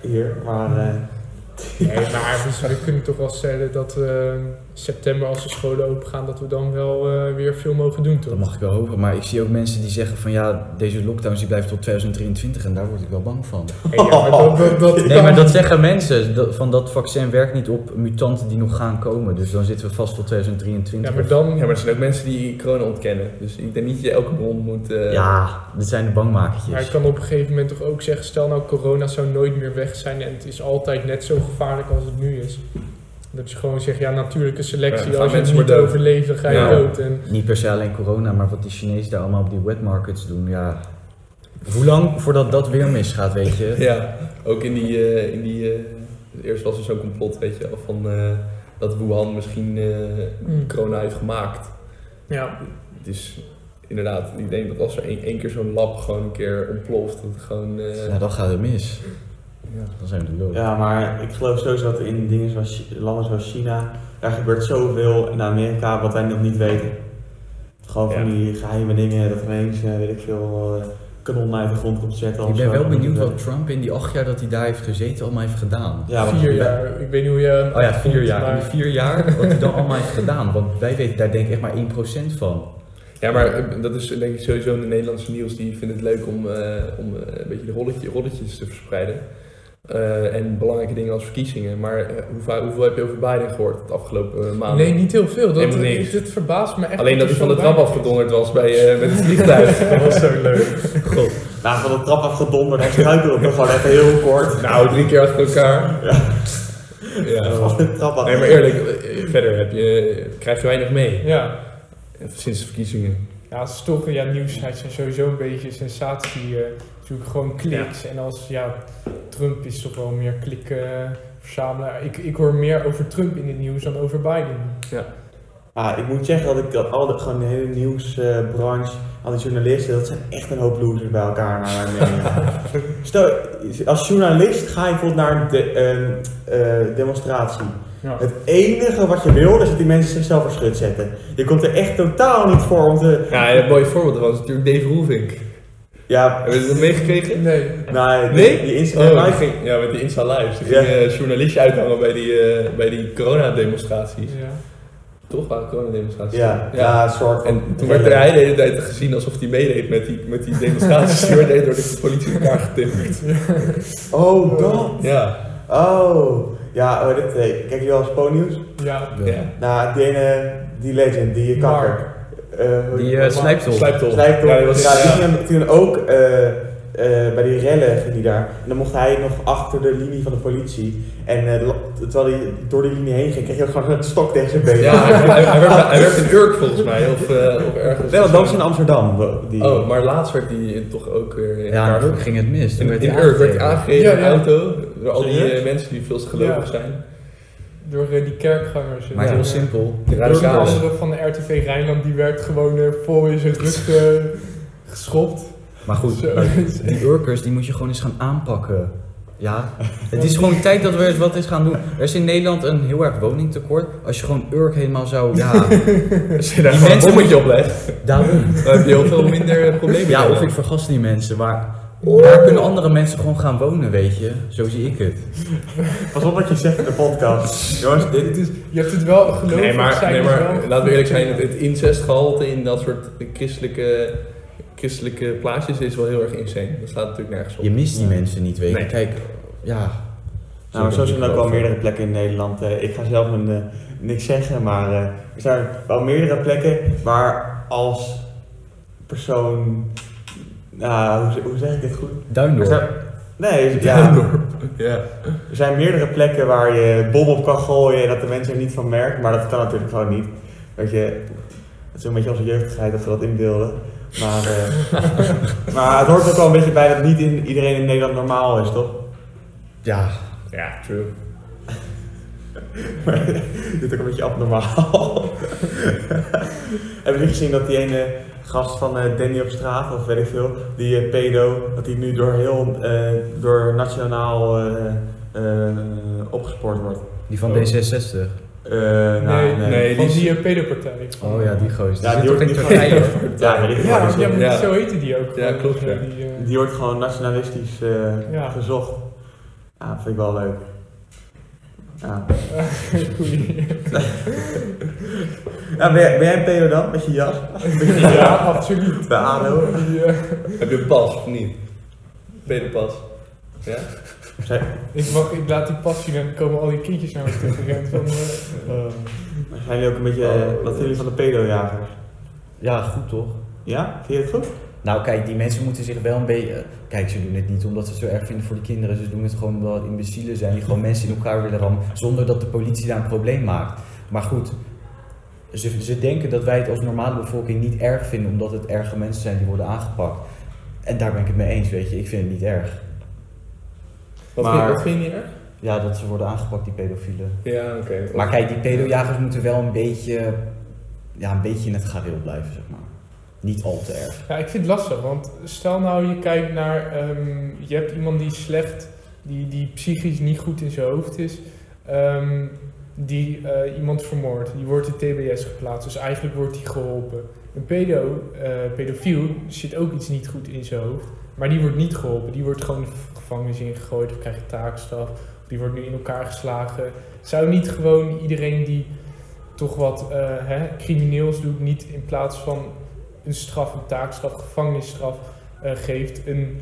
Speaker 1: hier, maar... eh,
Speaker 4: Nee, maar dus we kunnen toch wel stellen dat eh, september als de scholen open gaan, dat we dan wel eh, weer veel mogen doen toch?
Speaker 3: Dat mag ik wel hopen, maar ik zie ook mensen die zeggen van ja, deze lockdowns die blijft tot 2023 en daar word ik wel bang van.
Speaker 4: Hey, ja, maar dat, dat, dat
Speaker 3: Nee,
Speaker 4: kan-
Speaker 3: maar dat zeggen mensen, dat- van dat vaccin werkt niet op mutanten die nog gaan komen, dus dan zitten we vast tot 2023.
Speaker 4: Ja, maar dan...
Speaker 2: Ja, maar er zijn ook mensen die corona ontkennen. Dus ik denk niet dat je elke bron moet... eh,
Speaker 3: Ja, dit zijn de bangmakertjes.
Speaker 4: Maar je kan op een gegeven moment toch ook zeggen, stel nou corona zou nooit meer weg zijn en het is altijd net zo gevaarlijk als het nu is. Dat je gewoon zegt, ja natuurlijke
Speaker 2: Ja,
Speaker 4: selectie,
Speaker 2: dan gaan
Speaker 4: als je het
Speaker 2: mensen
Speaker 4: niet
Speaker 2: maar dood.
Speaker 4: overleven ga je
Speaker 2: Ja.
Speaker 4: dood. En
Speaker 3: Niet per se alleen corona, maar wat die Chinezen daar allemaal op die wet markets doen, ja. Hoe lang voordat dat weer misgaat, weet je?
Speaker 2: Ja, ook in die... eh, in die eh, eerst was er zo'n complot, weet je wel, van eh, dat Wuhan misschien eh,
Speaker 4: Mm.
Speaker 2: corona heeft gemaakt.
Speaker 4: ja,
Speaker 2: Dus inderdaad, ik denk dat als er één één keer zo'n lab gewoon een keer ontploft, dat het gewoon... eh,
Speaker 3: Ja, Nou, dan gaat het mis.
Speaker 2: ja.
Speaker 3: Dan zijn we er dood.
Speaker 1: Ja, maar ik geloof sowieso dat in dingen zoals, Chi- landen zoals China, daar gebeurt zoveel in Amerika wat wij nog niet weten. Gewoon van
Speaker 2: Ja.
Speaker 1: die geheime dingen, dat ineens, eh, weet ik veel, eh, kanonnen uit de grond komt zetten.
Speaker 3: Ik
Speaker 1: of
Speaker 3: ben
Speaker 1: zo.
Speaker 3: wel benieuwd wat Trump in die acht jaar dat hij daar heeft gezeten allemaal heeft gedaan.
Speaker 1: Ja, want-
Speaker 4: vier jaar. Ik weet niet hoe je... hem
Speaker 3: Oh ja,
Speaker 4: vond,
Speaker 3: vier jaar. In
Speaker 4: maar-
Speaker 3: die vier jaar, wat hij dan allemaal heeft gedaan. Want wij weten daar denk ik echt maar 1% van.
Speaker 2: Ja, maar eh, dat is denk ik sowieso in de Nederlandse nieuws. Die vinden het leuk om, eh, om eh, een beetje de rolletje, rolletjes te verspreiden. Eh, en belangrijke dingen als verkiezingen. Maar eh, hoe va- hoeveel heb je over Biden gehoord de afgelopen eh, maanden?
Speaker 4: Nee, niet heel veel. Dat,
Speaker 2: Helemaal niks.
Speaker 4: dit- dit verbaast me echt.
Speaker 2: Alleen dat
Speaker 4: er
Speaker 2: hij van de
Speaker 4: zo
Speaker 2: trap
Speaker 4: weinig
Speaker 2: afgedonderd was bij, eh, met het vliegtuig.
Speaker 4: Dat was zo leuk.
Speaker 3: God.
Speaker 1: Nou, van de trap afgedonderd, hij struikelde nog gewoon even heel kort.
Speaker 2: nou, drie keer achter elkaar. Ja.
Speaker 1: Van de trap af.
Speaker 2: Nee, maar eerlijk, eh, verder heb je, krijg je weinig mee.
Speaker 4: Ja.
Speaker 2: Eh, Sinds de verkiezingen.
Speaker 4: Ja, het is toch, ja, nieuwsites zijn sowieso een beetje sensatie. eh natuurlijk gewoon kliks. En als, ja, Trump is toch wel meer klikken verzamelaar. Ik, ik hoor meer over Trump in het nieuws dan over Biden.
Speaker 1: Ah, ik moet zeggen dat ik dat al de, gewoon de hele nieuwsbranche, al die journalisten, dat zijn echt een hoop losers bij elkaar naar mijn mening. Stel, als journalist ga je bijvoorbeeld naar een de, ehm, eh, demonstratie.
Speaker 4: Ja.
Speaker 1: Het enige wat je wil is dat die mensen zichzelf voor schut zetten. Je komt er echt totaal niet voor om te...
Speaker 2: Ja, en een mooi voorbeeld was natuurlijk Dave Roelvink.
Speaker 1: Ja,
Speaker 2: Hebben jullie dat meegekregen?
Speaker 4: Nee.
Speaker 1: nou, die,
Speaker 2: Nee?
Speaker 1: die Instagram
Speaker 2: Oh, die
Speaker 1: live...
Speaker 2: ging, ja, met die Insta Lives. Die
Speaker 1: Ja.
Speaker 2: ging eh, journalistje uithangen bij die, eh, bij die coronademonstraties.
Speaker 4: Ja.
Speaker 2: Toch waren het coronademonstraties?
Speaker 1: Ja, ja.
Speaker 2: ja.
Speaker 1: een soort van...
Speaker 2: En toen werd er hij de hele tijd gezien alsof hij meedeed met die, met die demonstraties. Die werd door de politie in elkaar getimmerd.
Speaker 1: Oh, dat!
Speaker 2: Ja.
Speaker 1: Oh! Ja, oh, dit... eh, Kijk je wel eens Ponyus?
Speaker 4: Ja.
Speaker 3: eh,
Speaker 2: ja.
Speaker 1: Nou, die ene... Die legend, die kakker. Eh, hoe-
Speaker 3: Die
Speaker 1: Mark.
Speaker 3: eh snijpt op.
Speaker 2: Slijptol.
Speaker 1: Slijptol.
Speaker 2: Ja,
Speaker 1: Ja,
Speaker 2: die was,
Speaker 1: die
Speaker 2: ja.
Speaker 1: ging hem toen ook eh, eh, bij die rellen ging hij daar. En dan mocht hij nog achter de linie van de politie. En eh, la- terwijl hij door die linie heen ging, kreeg hij ook gewoon een stok tegen zijn been.
Speaker 2: Ja, hij, hij, hij werd, hij werd in Urk volgens mij. Of, eh, of ergens.
Speaker 1: Nee, want dat was in Amsterdam. wo- Die,
Speaker 2: Oh, maar laatst werd hij toch ook weer in
Speaker 3: Ja,
Speaker 2: elkaar
Speaker 3: en ook
Speaker 2: gegooid.
Speaker 3: ging het mis. Toen
Speaker 2: In,
Speaker 3: werd
Speaker 2: in
Speaker 3: hij
Speaker 2: Urk werd hij
Speaker 3: aangereden.
Speaker 2: aangereden in
Speaker 4: Ja, ja.
Speaker 2: een auto. Door al die
Speaker 1: Serieus?
Speaker 2: eh, mensen die veel te gelovig zijn.
Speaker 4: Door eh, die kerkgangers.
Speaker 3: Maar
Speaker 4: Ja.
Speaker 3: heel simpel.
Speaker 2: De
Speaker 4: Door de
Speaker 2: radicalen.
Speaker 4: andere van de RTV Rijnland, die werd gewoon eh, vol in zijn rug eh, geschopt.
Speaker 3: Maar goed,
Speaker 4: Zo.
Speaker 3: die Urkers die moet je gewoon eens gaan aanpakken. Ja, het is gewoon tijd dat we eens wat eens gaan doen. Er is in Nederland een heel erg woningtekort. Als je gewoon Urk helemaal zou, ja,
Speaker 2: Als je daar
Speaker 3: Die
Speaker 2: gewoon een
Speaker 3: mensen-
Speaker 2: bommetje op legt,
Speaker 3: daarom.
Speaker 2: dan heb je heel veel minder eh, problemen.
Speaker 3: Ja, of
Speaker 2: daarna.
Speaker 3: ik vergas die mensen, maar daar kunnen andere mensen gewoon gaan wonen, weet je. Zo zie ik het.
Speaker 1: Pas op wat je zegt in de podcast. Jongens, dit is...
Speaker 4: Je hebt het wel geloofd.
Speaker 2: Nee, maar,
Speaker 4: zijn
Speaker 2: nee,
Speaker 4: dus
Speaker 2: maar
Speaker 4: wel-
Speaker 2: laten we eerlijk zijn, het, het incestgehalte in dat soort christelijke, christelijke plaatjes is wel heel erg insane. Dat staat natuurlijk nergens op.
Speaker 3: Je mist die mensen niet, weet je.
Speaker 2: Nee.
Speaker 3: Kijk, ja.
Speaker 1: Nou, maar zo
Speaker 3: dat
Speaker 1: zijn er
Speaker 3: ik
Speaker 1: ook wel
Speaker 3: geloof.
Speaker 1: meerdere plekken in Nederland. eh, ik ga zelf een, eh, niks zeggen, maar eh, er zijn wel meerdere plekken waar als persoon... Nou, hoe, hoe zeg ik dit goed? Er zijn-
Speaker 3: Duindorp.
Speaker 1: Nee, ja,
Speaker 2: Ja.
Speaker 1: Er zijn meerdere plekken waar je bom op kan gooien en dat de mensen er niet van merken, maar dat kan natuurlijk gewoon niet. Weet je, het is een beetje onze jeugdigheid dat ze dat inbeelden. Maar, eh, maar het hoort ook wel een beetje bij dat niet in, iedereen in Nederland normaal is, toch?
Speaker 3: Ja,
Speaker 2: ja, true.
Speaker 1: Maar dit is ook een beetje abnormaal. Hebben jullie gezien dat die ene gast van eh, Danny op straat, of weet ik veel, die eh, pedo, dat die nu door heel, eh, door nationaal eh, eh, opgespoord wordt?
Speaker 3: die van
Speaker 2: Oh.
Speaker 3: D66.
Speaker 1: Eh, nou,
Speaker 4: Nee,
Speaker 2: nee.
Speaker 4: van
Speaker 2: die-
Speaker 4: die eh, pedopartij.
Speaker 3: Oh ja, die gozer.
Speaker 1: Ja, die
Speaker 3: Die zit
Speaker 1: hoort
Speaker 3: toch in
Speaker 1: niet
Speaker 3: Turkije?
Speaker 1: Ja, weet ik
Speaker 4: Ja,
Speaker 1: wel.
Speaker 4: maar ja, maar
Speaker 2: Ja.
Speaker 4: zo heette die ook.
Speaker 2: Ja, klopt, ja.
Speaker 4: Die, eh,
Speaker 1: Die wordt gewoon nationalistisch eh,
Speaker 4: Ja.
Speaker 1: gezocht. Ja, dat vind ik wel leuk. Ja.
Speaker 4: Goeie.
Speaker 1: Ja, ben, jij, ben jij een pedo dan? Met je jas?
Speaker 4: ja, absoluut. eh,
Speaker 1: Bij ADO?
Speaker 4: Ja.
Speaker 2: Heb je een pas of niet? Peter pas. Ja?
Speaker 4: Ik, mag, ik laat die pas zien en dan komen al die kindjes naar me toe gerend. Van, eh,
Speaker 1: Zijn jullie ook een beetje... eh, wat vinden jullie van de pedo-jagers?
Speaker 3: Ja, goed toch?
Speaker 1: Ja? Vind je het goed?
Speaker 3: Nou kijk, die mensen moeten zich wel een beetje... eh, Kijk, ze doen het niet omdat ze het zo erg vinden voor de kinderen. Ze doen het gewoon omdat het imbecielen zijn die gewoon mensen in elkaar willen rammen. Zonder dat de politie daar een probleem maakt. Maar goed, ze, ze denken dat wij het als normale bevolking niet erg vinden. Omdat het erge mensen zijn die worden aangepakt. En daar ben ik het mee eens, weet je. Ik vind het niet erg.
Speaker 2: Wat,
Speaker 1: Maar-
Speaker 2: vind, wat vind je niet erg?
Speaker 3: Ja, dat ze worden aangepakt, die pedofielen.
Speaker 2: Ja, oké.
Speaker 3: Maar kijk, die pedojagers moeten wel een beetje, ja, een beetje in het gareel blijven, zeg maar. Niet al te erg.
Speaker 4: ja, ik vind het lastig, want stel nou je kijkt naar, ehm, je hebt iemand die slecht, die, die psychisch niet goed in zijn hoofd is, ehm, die eh, iemand vermoordt, die wordt in TBS geplaatst, dus eigenlijk wordt die geholpen. Een pedo, eh, pedofiel zit ook iets niet goed in zijn hoofd, maar die wordt niet geholpen, die wordt gewoon de gevangenis ingegooid of krijgt taakstraf, die wordt nu in elkaar geslagen. Zou niet gewoon iedereen die toch wat eh, hè, crimineels doet, niet in plaats van een straf, een taakstraf, gevangenisstraf eh, geeft, een,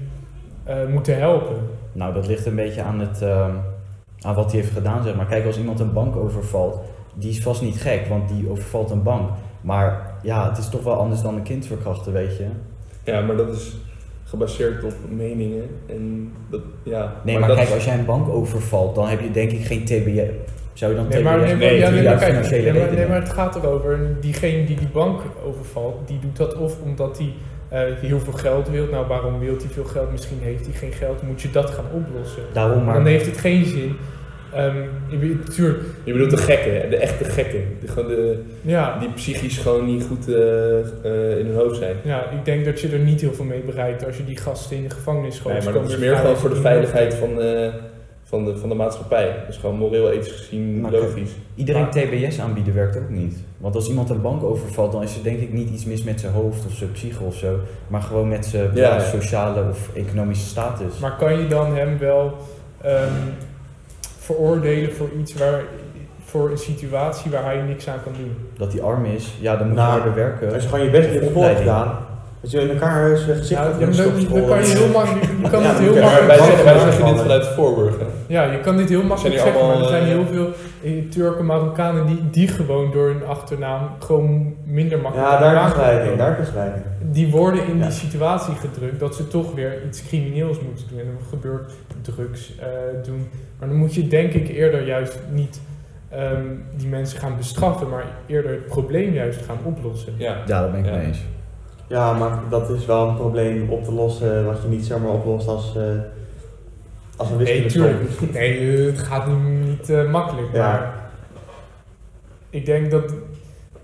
Speaker 4: eh, moeten helpen.
Speaker 3: Nou, dat ligt een beetje aan, het, ehm, aan wat hij heeft gedaan, zeg maar. Kijk, als iemand een bank overvalt, die is vast niet gek, want die overvalt een bank. Maar ja, het is toch wel anders dan een kind verkrachten, weet je.
Speaker 2: Ja, maar dat is gebaseerd op meningen en dat, ja.
Speaker 3: Nee, maar,
Speaker 2: dat
Speaker 3: kijk,
Speaker 2: is-
Speaker 3: als jij een bank overvalt, dan heb je denk ik geen TBS. Zou je dan
Speaker 4: Nee,
Speaker 3: TBS?
Speaker 4: maar, nee, maar,
Speaker 2: nee,
Speaker 4: ja, nee, maar,
Speaker 3: juist
Speaker 4: kijk,
Speaker 3: financiële
Speaker 4: nee, maar- nee,
Speaker 3: redenen.
Speaker 4: maar het gaat erover, diegene die die bank overvalt, die doet dat of omdat hij eh, heel veel geld wil. Nou, waarom wil hij veel geld? Misschien heeft hij geen geld, moet je dat gaan oplossen.
Speaker 3: Daarom maar.
Speaker 4: Dan heeft het geen zin. Ehm, je weet- tuurlijk,
Speaker 2: Je bedoelt de gekken, hè? de echte gekken. Die, gewoon de,
Speaker 4: ja,
Speaker 2: die psychisch gewoon niet goed eh, eh, in hun hoofd zijn.
Speaker 4: ja, ik denk dat je er niet heel veel mee bereikt als je die gasten in de gevangenis gooit.
Speaker 2: Nee,
Speaker 4: Ze
Speaker 2: maar dat
Speaker 4: komen
Speaker 2: is
Speaker 4: weer
Speaker 2: meer
Speaker 4: vrij
Speaker 2: gewoon voor de
Speaker 4: als
Speaker 2: veiligheid van, eh, van, de, van de maatschappij. Dus gewoon moreel, ethisch gezien,
Speaker 3: Maar kijk,
Speaker 2: logisch.
Speaker 3: Iedereen
Speaker 4: Maar-
Speaker 3: TBS aanbieden werkt ook niet. Want als iemand een bank overvalt, dan is er denk ik niet iets mis met zijn hoofd of zijn psyche of zo. Maar gewoon met zijn
Speaker 2: Ja.
Speaker 3: ja, sociale of economische status.
Speaker 4: Maar kan je dan hem wel ehm, veroordelen voor iets waar, voor een situatie waar hij niks aan kan doen?
Speaker 3: Dat hij arm is, ja, dan moet
Speaker 1: Nou,
Speaker 3: hij harder werken.
Speaker 1: Als je gewoon je best hebt voor
Speaker 3: Opleiding.
Speaker 1: gedaan, dat je in elkaar zijn gezicht
Speaker 4: Ja,
Speaker 1: hebt
Speaker 4: Nou, dan, dan- dan kan je heel makkelijk, je kan
Speaker 1: Ja,
Speaker 4: het heel
Speaker 1: oké.
Speaker 2: maar
Speaker 4: makkelijk
Speaker 2: wij
Speaker 1: bank-
Speaker 2: zeggen, wij
Speaker 1: bank-
Speaker 2: zeggen dit
Speaker 1: bank-
Speaker 2: vanuit Voorburg. hè.
Speaker 4: Ja, je kan dit heel makkelijk
Speaker 2: Zijn die
Speaker 4: zeggen, maar er zijn
Speaker 2: allemaal,
Speaker 4: heel veel eh, Turken, Marokkanen die, die gewoon door hun achternaam gewoon minder makkelijk
Speaker 1: Ja, daar
Speaker 4: aan
Speaker 1: heb je
Speaker 4: elkaar
Speaker 1: gelijk in,
Speaker 4: komen.
Speaker 1: daar heb je gelijk in.
Speaker 4: Die worden in
Speaker 1: Ja.
Speaker 4: die situatie gedrukt dat ze toch weer iets crimineels moeten doen. En dan gebeurt drugs eh, doen. Maar dan moet je denk ik eerder juist niet ehm, die mensen gaan bestraffen, maar eerder het probleem juist gaan oplossen.
Speaker 2: Ja.
Speaker 3: Ja, daar ben ik
Speaker 2: Ja.
Speaker 3: mee eens.
Speaker 1: Ja, maar dat is wel een probleem op te lossen wat je niet zomaar oplost als, eh, als een
Speaker 4: Nee,
Speaker 1: wiskunde.
Speaker 4: tuurlijk. Nee, eh, het gaat niet, niet, eh, makkelijk,
Speaker 1: Ja.
Speaker 4: maar ik denk dat,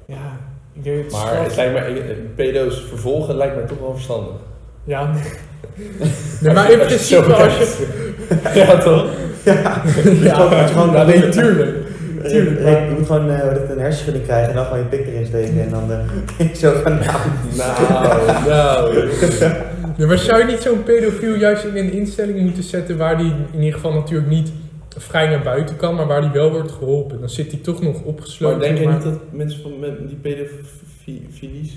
Speaker 4: ja, ik denk het
Speaker 2: Maar
Speaker 4: straf-
Speaker 2: het lijkt me, eh, pedo's vervolgen lijkt me toch wel verstandig.
Speaker 4: Ja, nee, maar in principe als je...
Speaker 2: ja, toch?
Speaker 1: gewoon- dat je gewoon-
Speaker 4: ja, nee, tuurlijk. Tuurlijk,
Speaker 1: Je,
Speaker 4: maar-
Speaker 1: je moet gewoon eh, hoe dat, een hersenschudding krijgen en dan gewoon je pik erin steken en dan eh, kun je zo gaan
Speaker 2: Nou, nou.
Speaker 4: Ja, maar zou je niet zo'n pedofiel juist in een instelling moeten zetten waar die in ieder geval natuurlijk niet vrij naar buiten kan, maar waar die wel wordt geholpen? Dan zit hij toch nog opgesloten.
Speaker 2: Maar denk je
Speaker 4: maar-
Speaker 2: niet dat mensen van, met- die pedofilies,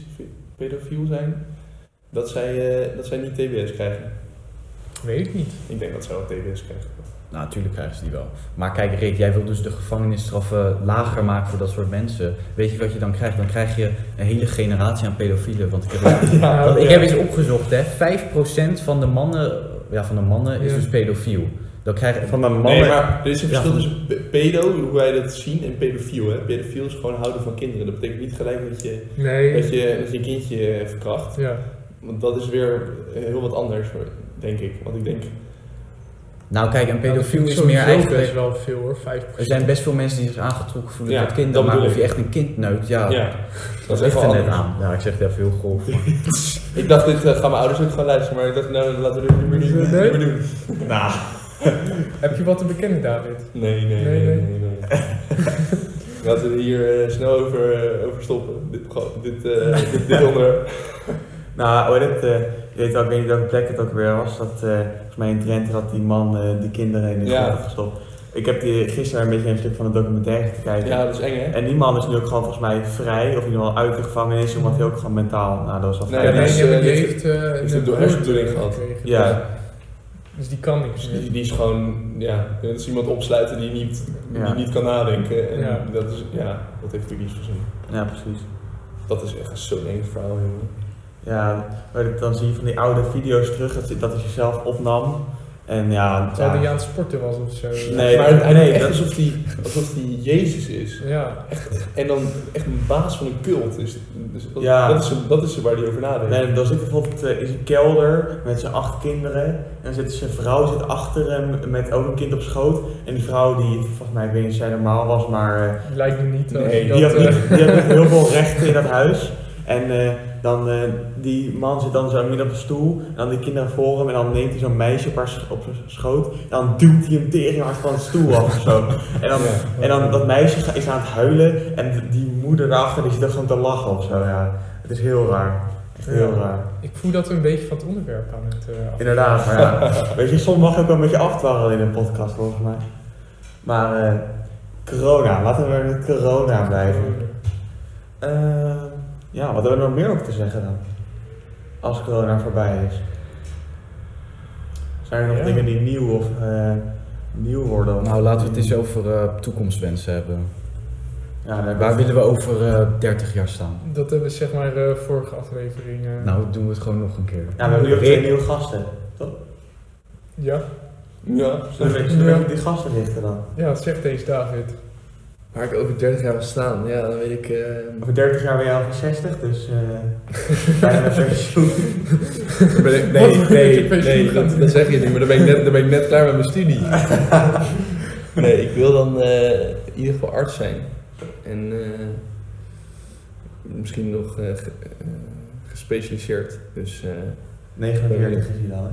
Speaker 2: pedofiel zijn, dat zij, eh, dat zij niet TBS krijgen?
Speaker 4: Weet ik niet.
Speaker 2: Ik denk dat zij wel TBS krijgen.
Speaker 3: Nou, natuurlijk krijgen ze die wel. Maar kijk, Rick, jij wil dus de gevangenisstraffen lager maken voor dat soort mensen. Weet je wat je dan krijgt? Dan krijg je een hele generatie aan pedofielen. Want ik heb,
Speaker 4: Nou, Ja,
Speaker 3: want ik
Speaker 4: oké.
Speaker 3: heb eens opgezocht, hè. 5% van de mannen, ja, van de mannen is
Speaker 4: Ja.
Speaker 3: dus pedofiel. Dan krijg,
Speaker 1: van mijn
Speaker 2: Nee,
Speaker 1: mannen.
Speaker 2: maar er is een
Speaker 3: Ja,
Speaker 2: verschil
Speaker 3: van-
Speaker 2: tussen pe- pedo, hoe wij dat zien, en pedofiel. Hè? Pedofiel is gewoon houden van kinderen. Dat betekent niet gelijk dat je
Speaker 4: Nee.
Speaker 2: dat je, dat je een kindje eh, verkracht.
Speaker 4: Ja.
Speaker 2: Want dat is weer eh, heel wat anders, hoor, denk ik. Want ik denk,
Speaker 3: Nou kijk, een pedofiel
Speaker 4: Ja, dat
Speaker 3: is meer
Speaker 4: sowieso
Speaker 3: eigenlijk...
Speaker 4: best wel veel hoor, 5
Speaker 3: Er zijn best veel mensen die zich aangetrokken voelen
Speaker 2: Ja,
Speaker 3: tot kinderen,
Speaker 2: dat
Speaker 3: maar
Speaker 2: bedoel
Speaker 3: of je
Speaker 2: ik.
Speaker 3: echt een kind neukt, ja,
Speaker 2: ja,
Speaker 3: dat
Speaker 2: is echt
Speaker 3: ligt er
Speaker 2: wel
Speaker 3: net
Speaker 2: anders.
Speaker 3: aan. Ja, ik zeg daar veel golf.
Speaker 2: Ik dacht, dit eh, gaan mijn ouders ook gaan luisteren, maar ik dacht, nou, laten we dit niet meer, niet, niet meer doen.
Speaker 4: Heb je wat te bekennen, David?
Speaker 2: Nee, nee,
Speaker 4: Nee,
Speaker 2: nee,
Speaker 4: nee.
Speaker 2: nee. nee, Laten we hier eh, snel over, eh, over stoppen. Dit, pro- dit, eh, dit, dit onderwerp.
Speaker 1: Nou, hoor, dat, eh, je weet wel, ik weet niet welke plek het ook weer was. Dat, eh, volgens mij in Drenthe dat die man eh, die kinderen in de
Speaker 2: Ja.
Speaker 1: grond had gestopt. Ik heb die, gisteren een beetje een stuk van een documentaire gekeken.
Speaker 2: Ja, dat is eng hè?
Speaker 1: En die man is nu ook gewoon volgens mij vrij, of in ieder geval uit de gevangenis, omdat hij ook gewoon mentaal, nou dat was wel
Speaker 2: Nee,
Speaker 1: vrij.
Speaker 2: die is,
Speaker 4: die
Speaker 2: eh,
Speaker 4: heeft, die
Speaker 2: die
Speaker 4: heeft, eh,
Speaker 2: heeft
Speaker 4: een
Speaker 2: een door- hersenbloeding
Speaker 4: gekregen.
Speaker 2: gehad.
Speaker 1: Ja.
Speaker 4: Dus die kan niks
Speaker 2: Dus
Speaker 4: meer.
Speaker 2: die, die is gewoon, ja, dat is iemand opsluiten die niet,
Speaker 1: Ja.
Speaker 2: die niet kan nadenken. En
Speaker 4: Ja.
Speaker 2: dat, is, ja, dat heeft natuurlijk niets voor zin.
Speaker 1: ja, precies.
Speaker 2: Dat is echt zo'n eng verhaal, jongen.
Speaker 1: Ja, maar dat- dan zie je van die oude video's terug, dat, dat hij zichzelf opnam. En ja,
Speaker 4: Terwijl
Speaker 1: ja.
Speaker 4: die aan het sporten was of zo.
Speaker 1: Nee,
Speaker 2: maar het-
Speaker 1: nee,
Speaker 2: echt
Speaker 1: dat-
Speaker 2: alsof die, alsof die Jezus is.
Speaker 4: Ja.
Speaker 2: En dan echt een baas van een cult. is. dus dat,
Speaker 1: Ja.
Speaker 2: dat, is, dat is waar die over nadenkt.
Speaker 1: Nee, dan zit hij bijvoorbeeld eh, in zijn kelder met zijn acht kinderen. En dan zit zijn vrouw zit achter hem met ook een kind op schoot. En die vrouw die, volgens mij, ik weet niet of zij normaal was, maar eh,
Speaker 4: Lijkt me niet als
Speaker 2: Nee,
Speaker 4: je
Speaker 1: die,
Speaker 4: dat...
Speaker 1: had niet,
Speaker 4: eh,
Speaker 1: die had niet heel veel rechten in dat huis. En eh, dan, eh, die man zit dan zo midden op een stoel. En dan die kinderen voor hem. En dan neemt hij zo'n meisje op, haar sch- op zijn schoot. En dan duwt hij hem tegen hard van de stoel af of zo. En dan,
Speaker 2: Ja.
Speaker 1: en dan dat meisje ga- is aan het huilen. En die moeder daarachter die zit dan gewoon te lachen of zo. Ja, het is heel raar. Echt heel
Speaker 4: Ja.
Speaker 1: raar.
Speaker 4: eh, ik voel dat we een beetje van het onderwerp aan het eh, af-
Speaker 1: Inderdaad, maar ja. Weet je, soms mag je ook wel een beetje afdwarrelen in een podcast volgens mij. Maar eh, corona, laten we met corona blijven. Eh, ja, wat hebben we er nog meer over te zeggen dan? Als corona voorbij is. Zijn er nog
Speaker 4: Ja.
Speaker 1: dingen die nieuw of eh, nieuw worden? Of-
Speaker 3: Nou, laten we het eens over eh, toekomstwensen hebben.
Speaker 1: Ja, daar hebben we-
Speaker 3: Waar willen we over eh, 30 jaar staan?
Speaker 4: Dat hebben we zeg maar eh, vorige aflevering... eh,
Speaker 3: Nou, doen we het gewoon nog een keer.
Speaker 1: ja, we hebben nu ook twee nieuwe gasten.
Speaker 4: Ja?
Speaker 2: Ja,
Speaker 1: Zullen we, zullen we even die gasten richten dan?
Speaker 4: ja, zeg deze David.
Speaker 2: Waar ik over 30 jaar wil staan, ja, dan weet ik.
Speaker 1: Over 30 jaar ben je al 60, dus eh bijna met pensioen.
Speaker 2: nee,
Speaker 4: Wat voor
Speaker 2: nee,
Speaker 4: pensioen
Speaker 2: nee,
Speaker 4: gaat
Speaker 2: dat,
Speaker 4: u?
Speaker 2: dat zeg je niet, maar dan ben ik net, dan ben ik net klaar met mijn studie. nee, ik wil dan eh, in ieder geval arts zijn. En eh, misschien nog eh, ge- eh, gespecialiseerd. Dus eh,
Speaker 1: 49 is hij dan, hè?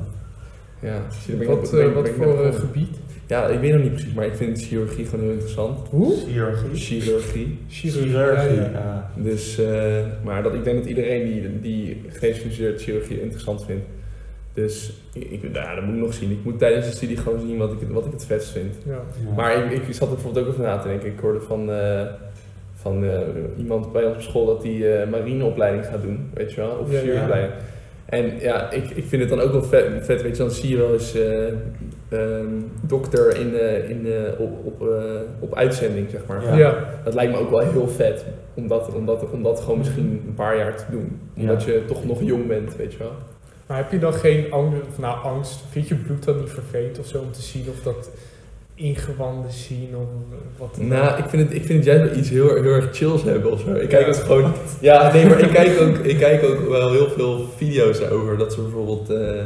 Speaker 2: ja, dus daar ben ik net-
Speaker 4: Wat,
Speaker 2: ben
Speaker 4: eh,
Speaker 2: ik-
Speaker 4: wat
Speaker 2: ben ik
Speaker 4: voor
Speaker 2: net
Speaker 4: eh,
Speaker 2: begonnen.
Speaker 4: gebied?
Speaker 2: Ja, ik weet nog niet precies, maar ik vind chirurgie gewoon heel interessant.
Speaker 4: Hoe?
Speaker 1: Chirurgie.
Speaker 2: Chirurgie.
Speaker 1: Chirurgie.
Speaker 4: Ja, ja.
Speaker 1: ja.
Speaker 2: Dus, eh, maar dat, ik denk dat iedereen die, die gespecialiseerd chirurgie interessant vindt. Dus ik, ik, nou, dat moet ik nog zien. Ik moet tijdens de studie gewoon zien wat ik, het- wat ik het vetst vind.
Speaker 4: Ja.
Speaker 1: Maar
Speaker 2: Maar ik, ik zat er bijvoorbeeld ook over na te denken. Ik hoorde van, eh, van eh, iemand bij ons op school dat die eh, marineopleiding gaat doen, weet je wel, officieropleiding. En ja, ik, ik vind het dan ook wel vet, vet weet je, dan zie je wel eens eh, ehm, dokter in, eh, in, eh, op, op, eh, op uitzending, zeg maar.
Speaker 1: Ja.
Speaker 4: Ja.
Speaker 2: Dat lijkt me ook wel heel vet, om dat, om dat, om dat gewoon misschien een paar jaar te doen. Omdat je toch nog jong bent, weet je wel.
Speaker 4: Maar heb je dan geen angst, of nou, angst? Vind je bloed dan niet vervelend of zo om te zien of dat ingewanden zien of wat? dan ook?
Speaker 2: Nou, ik vind het, ik vind het juist wel iets heel, heel erg chills hebben of zo. Ik kijk het gewoon. Ja, nee, maar ik kijk, ook, ik kijk ook wel heel veel video's daarover. Dat ze bijvoorbeeld eh,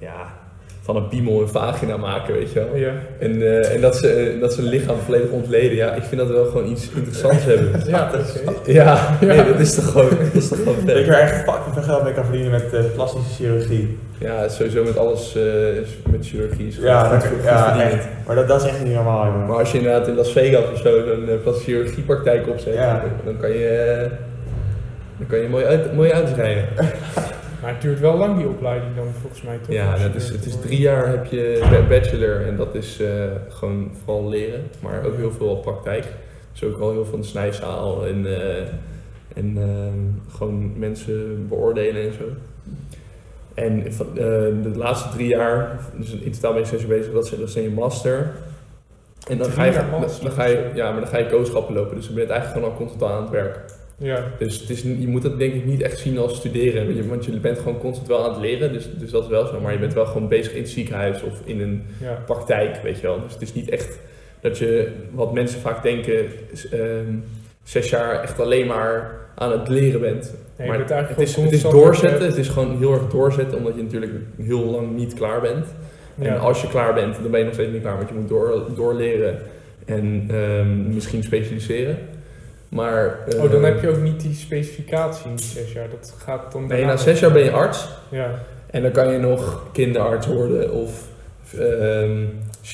Speaker 2: ja, van een piemel een vagina maken, weet je wel.
Speaker 4: Ja.
Speaker 2: En, eh, en dat, ze, eh, dat ze hun lichaam volledig ontleden. Ja, ik vind dat wel gewoon iets interessants hebben.
Speaker 4: Ja, oké.
Speaker 2: Ja, nee, dat is toch gewoon, dat is toch gewoon
Speaker 1: ik
Speaker 2: vet.
Speaker 1: er echt fucking veel geld mee kan verdienen met eh, plastische chirurgie.
Speaker 2: Ja, sowieso met alles, eh, is- met chirurgie. Is gewoon
Speaker 1: Ja,
Speaker 2: goed-
Speaker 1: dat-
Speaker 2: goed
Speaker 1: ja,
Speaker 2: verdiend.
Speaker 1: echt. Maar dat, dat is echt niet normaal, jongen.
Speaker 2: Maar als je inderdaad in Las Vegas of zo een eh, plastische chirurgiepraktijk opzet,
Speaker 1: Ja.
Speaker 2: dan kan je, eh, dan kan je mooi uit, mooie auto's rijden.
Speaker 4: Maar het duurt wel lang die opleiding dan volgens mij toch?
Speaker 2: Ja,
Speaker 4: Als je
Speaker 2: dat is,
Speaker 4: er-
Speaker 2: het is drie jaar heb je ba- bachelor en dat is eh, gewoon vooral leren, maar ook heel veel praktijk. Dus ook wel heel veel in de snijzaal en, eh, en eh, gewoon mensen beoordelen en zo. En van, eh, de laatste drie jaar, dus in totaal ben je zes jaar bezig, dat is, dat is dan je master. En dan
Speaker 4: Drie
Speaker 2: ga, je,
Speaker 4: jaar
Speaker 2: dan,
Speaker 4: master.
Speaker 2: dan ga je, ja, maar dan ga je coachschappen lopen, dus dan ben je eigenlijk gewoon al constant aan het werk.
Speaker 4: Ja.
Speaker 2: Dus het is, niet- je moet dat denk ik niet echt zien als studeren, want je- want je bent gewoon constant wel aan het leren, dus, dus dat is wel zo. Maar je bent wel gewoon bezig in het ziekenhuis of in een
Speaker 4: Ja.
Speaker 2: praktijk, weet je wel. Dus het is niet echt dat je, wat mensen vaak denken, is, ehm, zes jaar echt alleen maar aan het leren bent.
Speaker 4: Nee,
Speaker 2: Maar
Speaker 4: je bent eigenlijk
Speaker 2: Het is,
Speaker 4: gewoon
Speaker 2: het is
Speaker 4: constant-
Speaker 2: doorzetten, het is gewoon heel erg doorzetten, omdat je natuurlijk heel lang niet klaar bent.
Speaker 4: Ja.
Speaker 2: En als je klaar bent, dan ben je nog steeds niet klaar, want je moet door, doorleren en ehm, misschien specialiseren. Maar,
Speaker 4: Oh, dan
Speaker 2: ehm,
Speaker 4: heb je ook niet die specificatie in die zes jaar. Dat gaat dan.
Speaker 2: Nee,
Speaker 4: daarna
Speaker 2: na
Speaker 4: nog.
Speaker 2: zes jaar ben je arts
Speaker 4: Ja.
Speaker 2: en dan kan je nog kinderarts worden of ehm,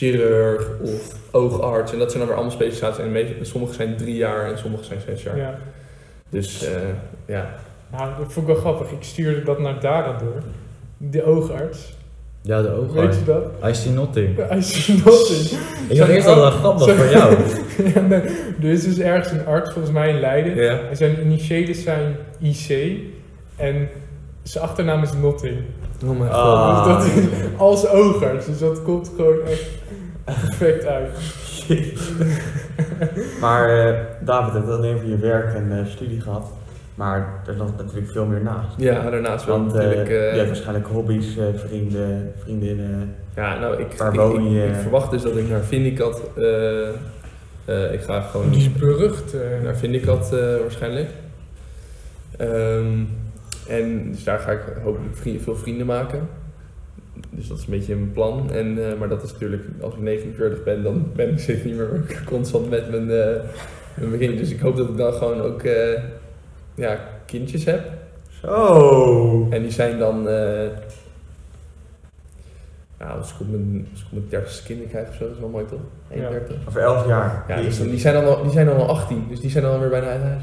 Speaker 2: chirurg of oogarts. En dat zijn dan weer allemaal specialisaties. En meest- sommige zijn drie jaar en sommige zijn zes jaar.
Speaker 4: ja.
Speaker 2: Dus eh, ja.
Speaker 4: Nou, dat vond ik wel grappig. Ik stuurde dat naar Dara door, de oogarts.
Speaker 3: Ja, de
Speaker 4: Weet je
Speaker 3: oogarts.
Speaker 4: dat?
Speaker 3: I see nothing.
Speaker 4: I see nothing.
Speaker 3: Ik dacht eerst dat dat een grap was voor jou.
Speaker 4: Ja, nee. Er is dus ergens een arts, volgens mij in Leiden.
Speaker 2: Ja.
Speaker 4: En zijn initiëlen zijn IC. En zijn achternaam is Notting.
Speaker 2: Oh mijn god.
Speaker 3: Ah.
Speaker 4: Dus dat is als oogarts. Dus dat komt gewoon echt perfect uit.
Speaker 1: Maar eh, David, hebt wel een van je werk en eh, studie gehad. Maar er lag natuurlijk veel meer naast.
Speaker 2: Ja, daarnaast wel
Speaker 1: Want eh,
Speaker 2: natuurlijk... eh,
Speaker 1: je hebt waarschijnlijk hobby's, eh, vrienden, vriendinnen.
Speaker 2: Ja, nou, ik,
Speaker 1: Waar
Speaker 2: ik,
Speaker 1: woon
Speaker 2: ik-
Speaker 1: je?
Speaker 2: ik verwacht dus dat ik naar Vindicat... eh, eh, ik ga gewoon
Speaker 4: Die is berucht. eh.
Speaker 2: naar Vindicat eh waarschijnlijk. Ehm, en dus daar ga ik hopelijk vri- veel vrienden maken. Dus dat is een beetje mijn plan. En, eh, maar dat is natuurlijk, als ik 49 ben, dan ben ik zeker niet meer constant met mijn, eh mijn begin. Dus ik hoop dat ik dan gewoon ook eh, ja, kindjes heb.
Speaker 1: Zo!
Speaker 2: En die zijn dan. eh, nou, als ik op mijn, als ik op mijn 30ste kinderen krijg of zo, dat is wel mooi toch? 31.
Speaker 1: Over elf jaar.
Speaker 2: Ja,
Speaker 1: Die-
Speaker 2: dus dan- die, zijn dan al, die zijn dan al 18, dus die zijn dan alweer bijna uit huis.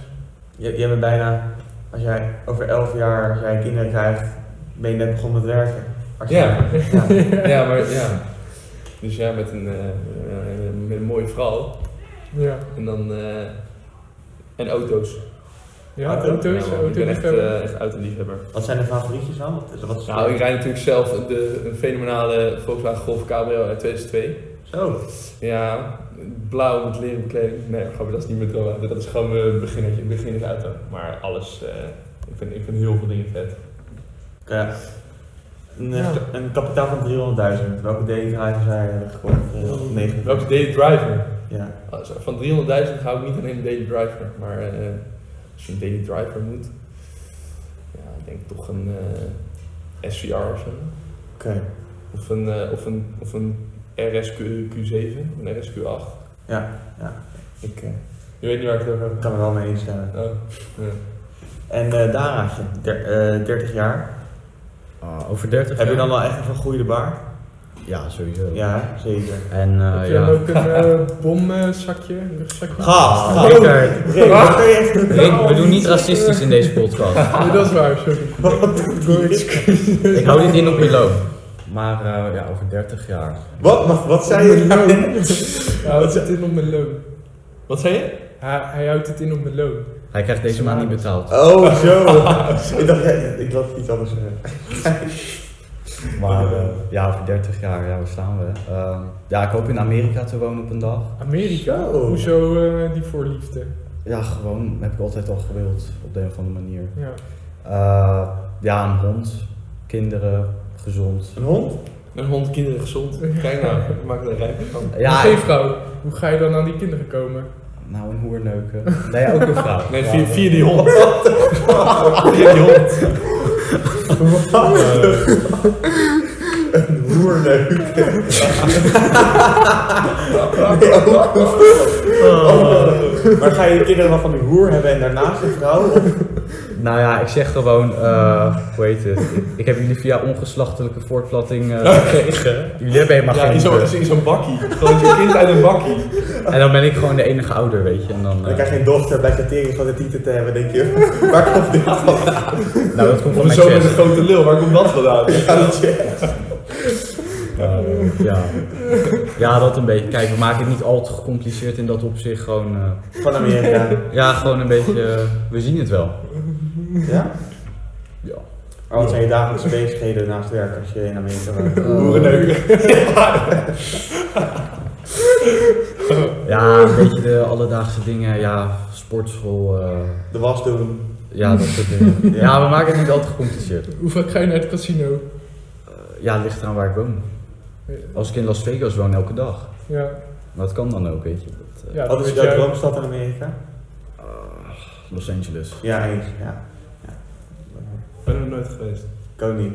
Speaker 1: J- jij bent bijna, als jij over elf jaar als jij kinderen krijgt, ben je net begonnen met werken. Als je-
Speaker 2: Ja.
Speaker 1: ja.
Speaker 2: ja, maar ja. Dus ja, met een, eh, eh, met een mooie vrouw.
Speaker 4: Ja.
Speaker 2: En dan. eh, en auto's.
Speaker 4: Ja,
Speaker 1: Auto?
Speaker 4: auto's,
Speaker 2: Ah, Ja, man, ik ben echt,
Speaker 4: autoliefhebber.
Speaker 2: eh, echt autoliefhebber.
Speaker 1: Wat zijn de favorietjes dan? Wat is, wat is
Speaker 2: Nou, ik rijd natuurlijk zelf de, een fenomenale Volkswagen Golf Cabrio uit 2002.
Speaker 1: Zo.
Speaker 2: Ja, blauw met leren bekleding. Nee, grapje, dat is niet mijn droom. Dat is gewoon mijn beginnertje, beginnersauto. Maar alles, eh, ik, vind, ik vind heel veel dingen vet.
Speaker 1: Ja. Een, eh,
Speaker 4: Ja.
Speaker 1: ka- een kapitaal van 300.000. Welke D-driver zou je hebben gekocht? Eh, negen.
Speaker 2: Welke daily driver?
Speaker 1: Ja.
Speaker 2: Ah, zo, Van 300.000 hou ik niet aan een daily driver. Maar eh, als je een daily driver moet, ja, ik denk toch een eh, SVR of zo.
Speaker 1: Oké.
Speaker 2: Of een, eh, of een, of een RSQ, Q7, of een RSQ8.
Speaker 1: Ik eh,
Speaker 2: Je weet niet waar ik het over heb.
Speaker 1: kan er wel mee instellen.
Speaker 2: Oh, ja.
Speaker 1: En eh Daraatje, der- eh, 30 jaar.
Speaker 3: Ah, over 30
Speaker 1: Heb je
Speaker 3: jaar?
Speaker 1: dan wel echt een vergroeide baard?
Speaker 3: Ja, sowieso.
Speaker 1: Ja, zeker.
Speaker 3: En
Speaker 2: Ah,
Speaker 4: Heb
Speaker 3: eh
Speaker 4: je dan
Speaker 3: ja.
Speaker 4: ook een eh, bomzakje, rugzakje?
Speaker 1: Gast, gast.
Speaker 3: Zeker.
Speaker 1: Rick, wat kun je echt doen?
Speaker 3: Rick, we doen niet racistisch in deze podcast.
Speaker 4: Nee, dat is waar, sorry.
Speaker 1: Wat doet die?
Speaker 3: Ik hou dit in op je loon. Maar eh, ja, over 30 jaar.
Speaker 1: Wat, wat, wat zei je nou?
Speaker 4: Hij houdt het in op mijn loon.
Speaker 2: Wat zei je?
Speaker 4: Hij, hij houdt het in op mijn loon.
Speaker 3: Hij krijgt deze maand niet betaald.
Speaker 1: Oh, zo. ik dacht, ja, ik dacht iets anders zeggen.
Speaker 3: Maar eh, ja, over 30 jaar, ja, waar staan we? Ehm, ja, ik hoop in Amerika te wonen op een dag.
Speaker 4: Amerika?
Speaker 1: Zo.
Speaker 4: Hoezo eh, die voorliefde?
Speaker 3: Ja, gewoon heb ik altijd al gewild op de een of andere manier.
Speaker 4: Ja.
Speaker 3: Eh, ja, een hond, kinderen, gezond.
Speaker 1: Een hond?
Speaker 2: Een hond, kinderen gezond. Kijk nou, ik maak er een rijmpje van.
Speaker 3: Ja,
Speaker 4: Geen vrouw. Hoe ga je dan aan die kinderen komen?
Speaker 3: nou een hoerneuken. Nee, ook een vrouw.
Speaker 2: Nee,
Speaker 3: Ja,
Speaker 2: via,
Speaker 3: eh,
Speaker 2: via die hond. via die hond.
Speaker 1: Een hoerneuk. Nee, ook een- Maar ga je de kinderen wel van die hoer hebben en daarnaast een vrouw? Of-
Speaker 3: Nou ja, ik zeg gewoon, eh, hoe heet het? Ik, ik heb jullie via ongeslachtelijke voortplatting eh, gekregen. Jullie hebben helemaal
Speaker 2: Ja, in
Speaker 3: geen
Speaker 2: zo'n
Speaker 3: keuze.
Speaker 2: in zo'n bakkie. Gewoon zo'n kind uit een bakkie.
Speaker 3: En dan ben ik gewoon de enige ouder, weet je. En dan,
Speaker 1: Dan
Speaker 3: eh,
Speaker 1: krijg je een dochter bij Katering van de titel te hebben, denk je. Waar komt dit vandaan?
Speaker 3: nou, dat komt
Speaker 2: Of
Speaker 3: van mijn
Speaker 2: zo met een
Speaker 3: chest.
Speaker 2: grote lul, waar komt dat vandaan?
Speaker 1: Ik ga niet checken.
Speaker 3: Eh, ja. ja, dat een beetje. Kijk, we maken het niet al te gecompliceerd in dat opzicht. Gewoon, eh,
Speaker 1: Van Amerika.
Speaker 3: ja, gewoon een beetje, eh, we zien het wel.
Speaker 1: Ja?
Speaker 3: Ja.
Speaker 1: Maar wat zijn je dagelijkse bezigheden naast werk als je in Amerika woont?
Speaker 2: Hoerenneuken.
Speaker 3: Ja, een beetje de alledaagse dingen. Ja, sportschool. eh,
Speaker 1: De was doen.
Speaker 3: ja, dat soort dingen.
Speaker 1: Ja.
Speaker 3: Ja. we maken het niet al te gecompliceerd.
Speaker 4: Hoe vaak ga je naar het casino?
Speaker 3: Eh, ja, het ligt eraan waar ik woon. Als ik in Las Vegas woon, elke dag.
Speaker 4: Ja.
Speaker 3: Maar dat kan dan ook, weet je. Dat, eh,
Speaker 4: ja
Speaker 1: Wat is
Speaker 4: weet
Speaker 1: jouw
Speaker 4: jij.
Speaker 1: droomstad in Amerika?
Speaker 3: Ah, Los Angeles.
Speaker 1: Ja, eens. Ja. ja.
Speaker 2: Ik ben er nooit geweest.
Speaker 1: Ik ook niet.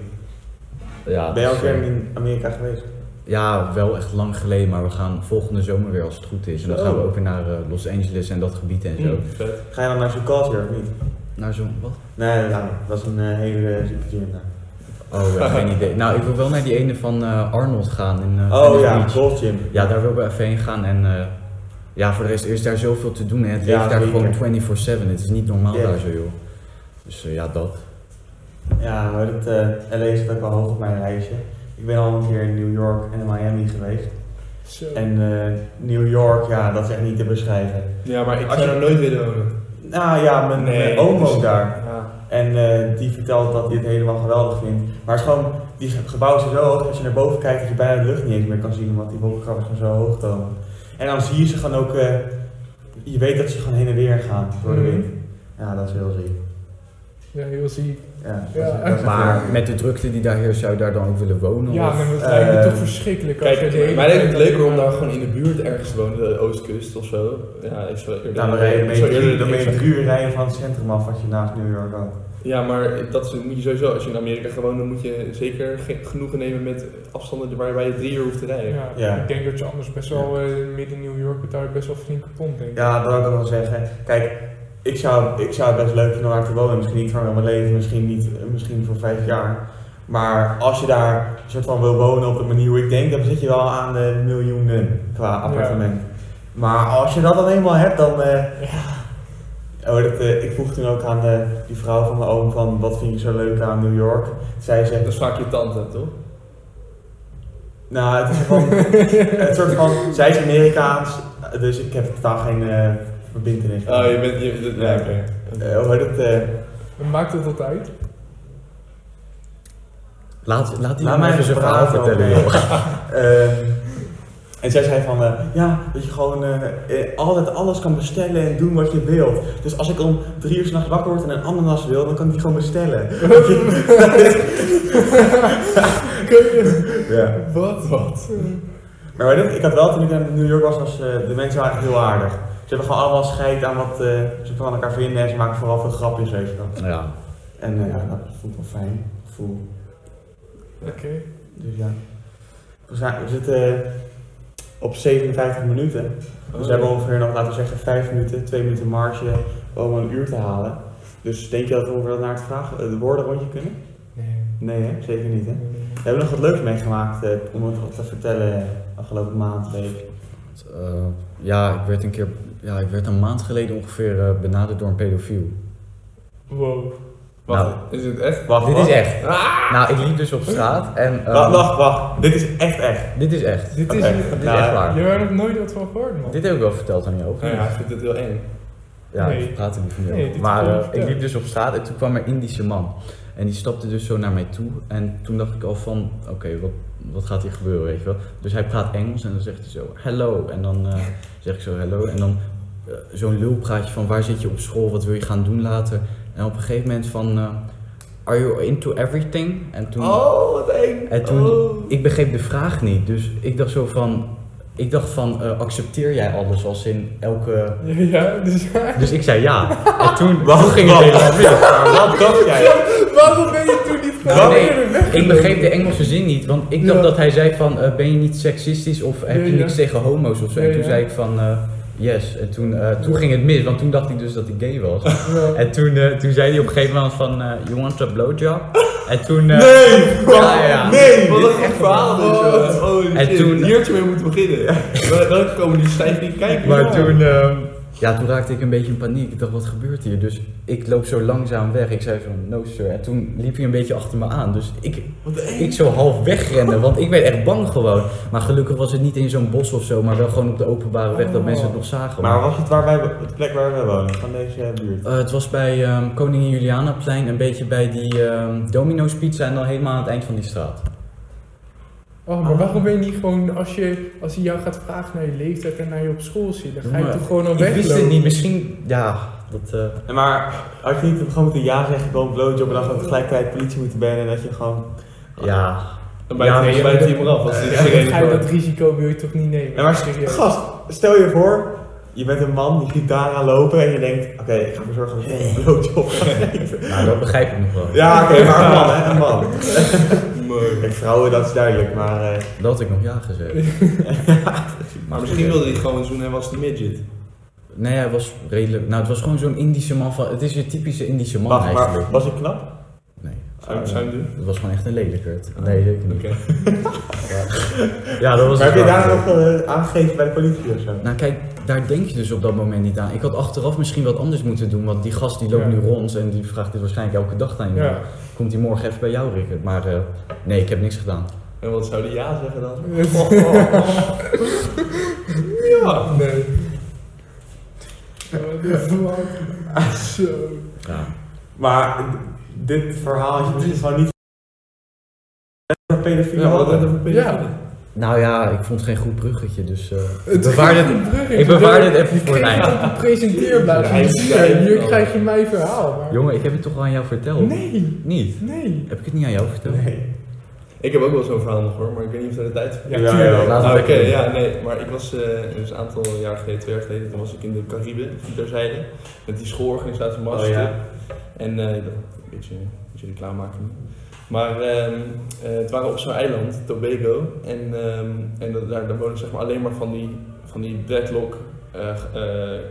Speaker 3: Ja,
Speaker 1: Ben je al
Speaker 3: dat
Speaker 1: een
Speaker 3: is,
Speaker 1: keer
Speaker 3: eh,
Speaker 1: in Amerika geweest?
Speaker 3: ja, wel echt lang geleden, maar we gaan volgende zomer weer als het goed is. En dan
Speaker 1: Zo. Hmm.
Speaker 3: gaan we ook weer naar eh, Los Angeles en dat gebied en zo.
Speaker 2: Vet.
Speaker 1: Ga je dan naar zo'n culture of niet?
Speaker 3: Naar zo'n, wat?
Speaker 1: Nee, nou, dat is een eh, hele eh, zieke gym daar.
Speaker 3: Oh, ja, geen idee. Nou, ik wil wel naar die ene van eh, Arnold gaan in eh,
Speaker 1: Oh
Speaker 3: Venice
Speaker 1: ja,
Speaker 3: Beach.
Speaker 1: Gold Gym.
Speaker 3: Ja, daar wil ik even heen gaan en eh, ja, voor de rest is daar zoveel te doen. Hè. Het
Speaker 1: Ja,
Speaker 3: leeft daar
Speaker 1: zeker.
Speaker 3: gewoon 24-7. Het is niet normaal
Speaker 1: Ja.
Speaker 3: daar zo, joh. Dus eh, ja, dat.
Speaker 1: Ja, maar dat eh LA staat ook wel hoog op mijn lijstje. Ik ben al een keer in New York en in Miami geweest.
Speaker 4: Zo.
Speaker 1: En eh, New York, ja, dat is echt niet te beschrijven.
Speaker 2: Ja, maar ik dus
Speaker 5: Als je er nooit willen wonen.
Speaker 1: Nou ja, mijn, mijn
Speaker 2: dat
Speaker 1: oom
Speaker 2: is-
Speaker 1: woont daar.
Speaker 5: Ja.
Speaker 1: En eh, die vertelt dat hij het helemaal geweldig vindt. Maar het is gewoon, die ge- gebouw is zo hoog, als je naar boven kijkt, dat je bijna de lucht niet eens meer kan zien, want die wolkenkrabbers gewoon zo hoog komen. En dan zie je ze gewoon ook, eh, je weet dat ze gewoon heen en weer gaan door de
Speaker 4: Mhm.
Speaker 1: wind. Ja, dat is heel ziek.
Speaker 4: Ja, heel ziek.
Speaker 1: Ja,
Speaker 4: Ja,
Speaker 1: dat is- dat is echt
Speaker 3: Maar
Speaker 1: heel-
Speaker 3: met de drukte die daar heerst, zou je daar dan ook willen wonen?
Speaker 4: Ja,
Speaker 3: of-
Speaker 4: maar dat lijkt me
Speaker 1: eh,
Speaker 4: toch verschrikkelijk als je de hele
Speaker 2: Kijk, mij lijkt het
Speaker 4: tijd alleen
Speaker 2: leuker om
Speaker 4: maar-
Speaker 2: daar gewoon in de buurt ergens te wonen, de oostkust of zo. Ja, ik zou eerder...
Speaker 1: Nou, dan rij je
Speaker 2: ik zou
Speaker 1: mee,
Speaker 2: eerder-
Speaker 1: dan ben
Speaker 2: ik
Speaker 1: je
Speaker 2: zou-
Speaker 1: drie uur rijden van het centrum af als je naast New York woont.
Speaker 2: Ja, maar dat is- moet je sowieso, als je in Amerika gaat wonen, moet je zeker ge- genoegen nemen met afstanden waarbij je drie uur hoeft te rijden.
Speaker 4: Ja,
Speaker 1: Ja.
Speaker 4: Ik denk dat je anders best wel eh, midden in New York betaal je best wel flinke pond, denk ik.
Speaker 1: Ja, dat wil ik ook wel zeggen. Kijk, ik zou, ik zou het best leuk vinden om daar te wonen. Misschien niet voor heel mijn leven, misschien, niet, eh, misschien voor vijf jaar. Maar als je daar soort van wil wonen op de manier hoe ik denk, dan zit je wel aan de miljoenen qua appartement. Maar als je dat dan eenmaal hebt, dan. eh, Oh, dat, eh, ik vroeg toen ook aan eh, die vrouw van mijn oom van wat vind je zo leuk aan New York? Zij zegt,
Speaker 2: Dat is vaak je tante, toch?
Speaker 1: nou, het is gewoon, het soort van, zij is Amerikaans, dus ik heb totaal geen eh verbindenis.
Speaker 2: Oh, je bent... Je, dat- ja,
Speaker 1: Ja.
Speaker 2: oké.
Speaker 1: Eh, hoe heet het? eh,
Speaker 4: En Maakt het dat uit?
Speaker 3: Laat, laat die
Speaker 1: Laat
Speaker 3: man
Speaker 1: mij
Speaker 3: even zijn
Speaker 1: even
Speaker 3: verhaal
Speaker 1: praten,
Speaker 3: vertellen,
Speaker 1: oké.
Speaker 3: joh.
Speaker 1: Ehm, en zij zei van, eh, ja, dat je gewoon eh, eh, altijd alles kan bestellen en doen wat je wilt. Dus als ik om drie uur s'nachts wakker word en een ananas wil, dan kan ik die gewoon bestellen. ja.
Speaker 2: Wat? Wat?
Speaker 1: Maar weet je, ik had wel, toen ik in New York was, was eh, de mensen waren echt heel aardig. Ze hebben gewoon allemaal scheid aan wat eh, ze van elkaar vinden en ze maken vooral veel grapjes, weet je wel.
Speaker 3: Nou Ja.
Speaker 1: En eh, ja, dat voelt wel fijn. Voel.
Speaker 4: Oké.
Speaker 1: Dus ja. We, zijn- we zitten eh, op 57 minuten.
Speaker 3: Oh.
Speaker 1: Dus we hebben ongeveer nog, laten we zeggen, 5 minuten, 2 minuten marge om een uur te halen. Dus denk je dat we ongeveer naar het vragen, eh, de woorden rondje kunnen?
Speaker 4: Nee.
Speaker 1: Nee, hè? zeker niet. Hè? We hebben nog wat leuks meegemaakt eh, om het wat te vertellen eh, afgelopen maand, week.
Speaker 3: Eh, ja, ik werd een keer, ja, ik werd een maand geleden ongeveer eh, benaderd door een pedofiel.
Speaker 4: Wow.
Speaker 2: Wacht,
Speaker 3: Nou.
Speaker 2: is het echt?
Speaker 1: Wacht,
Speaker 3: dit
Speaker 1: wacht.
Speaker 3: is echt. Nou, ik liep dus op straat en. eh,
Speaker 1: Wacht, wacht, wacht. Dit is echt echt.
Speaker 3: Dit is echt.
Speaker 4: Dit
Speaker 1: Oké.
Speaker 4: is...
Speaker 3: Dit is
Speaker 1: Nou,
Speaker 3: echt waar.
Speaker 4: Je hebt er nog nooit wat van gehoord, man.
Speaker 3: Dit heb ik wel verteld aan jou.
Speaker 2: Nou ja, ik vind het heel eng.
Speaker 3: Ja,
Speaker 4: Nee.
Speaker 3: ik praat er niet van jou.
Speaker 4: Nee, dit
Speaker 3: maar
Speaker 4: is
Speaker 3: eh,
Speaker 4: gewoon
Speaker 3: ik liep
Speaker 4: verteld.
Speaker 3: dus op straat en toen kwam er een Indische man. En die stapte dus zo naar mij toe. En toen dacht ik al van, oké, wat, wat gaat hier gebeuren, weet je wel. Dus hij praat Engels en dan zegt hij zo, hello. En dan eh, zeg ik zo, hello. En dan eh, zo'n lulpraatje van, waar zit je op school? Wat wil je gaan doen later? En op een gegeven moment van, eh, are you into everything? En toen...
Speaker 2: Oh, wat eng.
Speaker 3: En toen-
Speaker 2: Oh.
Speaker 3: Ik begreep de vraag niet, dus ik dacht zo van, ik dacht van, eh, accepteer jij alles als in elke...
Speaker 4: Ja, ja, dus...
Speaker 3: Dus ik zei ja. En toen,
Speaker 1: Wacht,
Speaker 3: toen ging het
Speaker 1: wacht.
Speaker 3: helemaal mis.
Speaker 1: Wat dacht jij?
Speaker 4: Waarom ben je toen niet
Speaker 3: Nou,
Speaker 4: gaan
Speaker 3: nee,
Speaker 4: weg?
Speaker 3: Ik begreep de Engelse zin niet, want ik dacht
Speaker 4: Ja.
Speaker 3: dat hij zei van, eh, ben je niet seksistisch of heb
Speaker 4: Ja,
Speaker 3: je
Speaker 4: ja.
Speaker 3: niks tegen homo's of zo.
Speaker 4: Ja,
Speaker 3: En toen
Speaker 4: ja.
Speaker 3: zei ik van, eh, yes. En toen, eh, toen ging het mis, want toen dacht ik dus dat ik gay was. En toen, eh, toen zei hij op een gegeven moment van, eh, you want a blowjob? En toen... eh,
Speaker 1: Nee!
Speaker 3: ja, ja.
Speaker 1: Nee! Oh,
Speaker 2: Wat een goed verhaal dus.
Speaker 1: Wat?
Speaker 2: joh. Holy
Speaker 3: En
Speaker 2: shit.
Speaker 3: toen-
Speaker 2: Hier had je mee moeten beginnen. Wel- Welke komen die stijf niet kijken?
Speaker 3: Maar
Speaker 2: Ja.
Speaker 3: toen, ehm, ja, toen raakte ik een beetje in paniek. Ik dacht, wat gebeurt hier? Dus ik loop zo langzaam weg. Ik zei zo, no sir. En toen liep hij een beetje achter me aan. Dus ik, ik zo half wegrende, want ik werd echt bang gewoon. Maar gelukkig was het niet in zo'n bos of zo, maar wel gewoon op de openbare weg dat
Speaker 4: Oh.
Speaker 3: mensen het nog zagen.
Speaker 1: Maar was het waar wij, het plek waar wij wonen, van deze eh, buurt?
Speaker 3: Eh, het was bij ehm Koningin Julianaplein, een beetje bij die ehm Domino's Pizza en dan helemaal aan het eind van die straat.
Speaker 4: Oh, maar waarom ben je niet gewoon, als, je, als hij jou gaat vragen naar je leeftijd en naar je op school zit, dan ga je
Speaker 3: Maar
Speaker 4: toch gewoon al
Speaker 3: Ik
Speaker 4: weglopen?
Speaker 3: wist het niet, misschien, ja, dat... eh,
Speaker 1: En maar had je niet gewoon moeten ja zeggen, gewoon blowjob en dan gewoon tegelijkertijd politie moeten bellen en dat je gewoon...
Speaker 3: ja,
Speaker 2: Dan bij
Speaker 3: Ja,
Speaker 2: het
Speaker 3: maar je
Speaker 2: bij het
Speaker 3: moet-
Speaker 2: team eraf. Als dit
Speaker 4: Ja,
Speaker 2: geen
Speaker 4: dan ga je
Speaker 2: reden
Speaker 4: dat risico wil je toch niet nemen?
Speaker 1: Ja, maar
Speaker 4: serieus.
Speaker 1: Gast, stel je voor, je bent een man die ziet daar aan lopen en je denkt, oké, ik ga ervoor zorgen dat ik een blowjob ga geven.
Speaker 3: nou, dat begrijp ik nog wel.
Speaker 1: Ja, oké, maar een man, hè, een man.
Speaker 2: voor. Mooi.
Speaker 1: Kijk, vrouwen, dat is duidelijk, maar... eh,
Speaker 3: Dat had ik nog ja gezegd.
Speaker 2: Maar misschien wilde hij gewoon zoenen en was de midget.
Speaker 3: Nee, hij was redelijk. Nou, het was gewoon zo'n Indische man van. Het is een typische Indische man
Speaker 1: wacht,
Speaker 3: eigenlijk.
Speaker 1: maar was ik knap?
Speaker 3: Nee,
Speaker 2: Zou je zou je hem doen?
Speaker 3: het was gewoon echt een lelijkerd. Nee, zeker niet.
Speaker 2: Oké.
Speaker 3: Ja, dat was.
Speaker 1: maar heb je
Speaker 3: het
Speaker 1: daar
Speaker 3: wel.
Speaker 1: nog eh, aangegeven bij de politie of zo?
Speaker 3: Nou, kijk, daar denk je dus op dat moment niet aan. Ik had achteraf misschien wat anders moeten doen, want die gast die loopt
Speaker 4: Ja.
Speaker 3: nu rond en die vraagt dit waarschijnlijk elke dag aan je.
Speaker 4: Ja.
Speaker 3: Komt hij morgen even bij jou, Rickert? Maar eh, nee, ik heb niks gedaan.
Speaker 2: Oké, En wat zou die ja zeggen dan?
Speaker 4: Ja. Nee. Zo.
Speaker 3: Ja.
Speaker 1: Maar dit verhaal had je misschien gewoon niet. Een pedofiele
Speaker 2: Ja, wat
Speaker 1: hadden.
Speaker 2: een pedofiel.
Speaker 4: Ja.
Speaker 3: Nou ja, ik vond geen goed bruggetje, dus eh, ik
Speaker 4: Het
Speaker 3: bewaar
Speaker 4: gaat
Speaker 3: dit,
Speaker 4: een bruggetje.
Speaker 3: ik bewaar dit even
Speaker 4: Ik
Speaker 3: voor
Speaker 4: kreeg
Speaker 3: mij.
Speaker 4: dat een presenteerblaadje.
Speaker 2: Ja, hij is-
Speaker 4: Hier,
Speaker 2: hij is-
Speaker 4: Hier krijg je mijn verhaal. maar-
Speaker 3: Jongen, ik heb het toch al aan jou verteld?
Speaker 4: Nee,
Speaker 3: Niet?
Speaker 4: nee.
Speaker 3: Heb ik het niet aan jou verteld?
Speaker 1: Nee.
Speaker 2: Ik heb ook wel zo'n verhaal nog hoor, maar ik weet niet of dat de tijd voor
Speaker 1: Ja,
Speaker 2: is.
Speaker 1: tuurlijk.
Speaker 3: Laat het
Speaker 2: Ah, Oké,
Speaker 3: lekker doen.
Speaker 2: ja, nee, maar ik was eh, dus een aantal jaar geleden, twee jaar geleden, toen was ik in de Cariben, terzijde, met die schoolorganisatie Master.
Speaker 1: Oh, ja.
Speaker 2: En eh, ik dacht, een beetje, een beetje reclame maken. nu. Maar ehm, eh, het waren op zo'n eiland, Tobago, en, ehm, en dat- daar, daar wonen zeg maar alleen maar van die, van die dreadlock eh, g- eh, eh,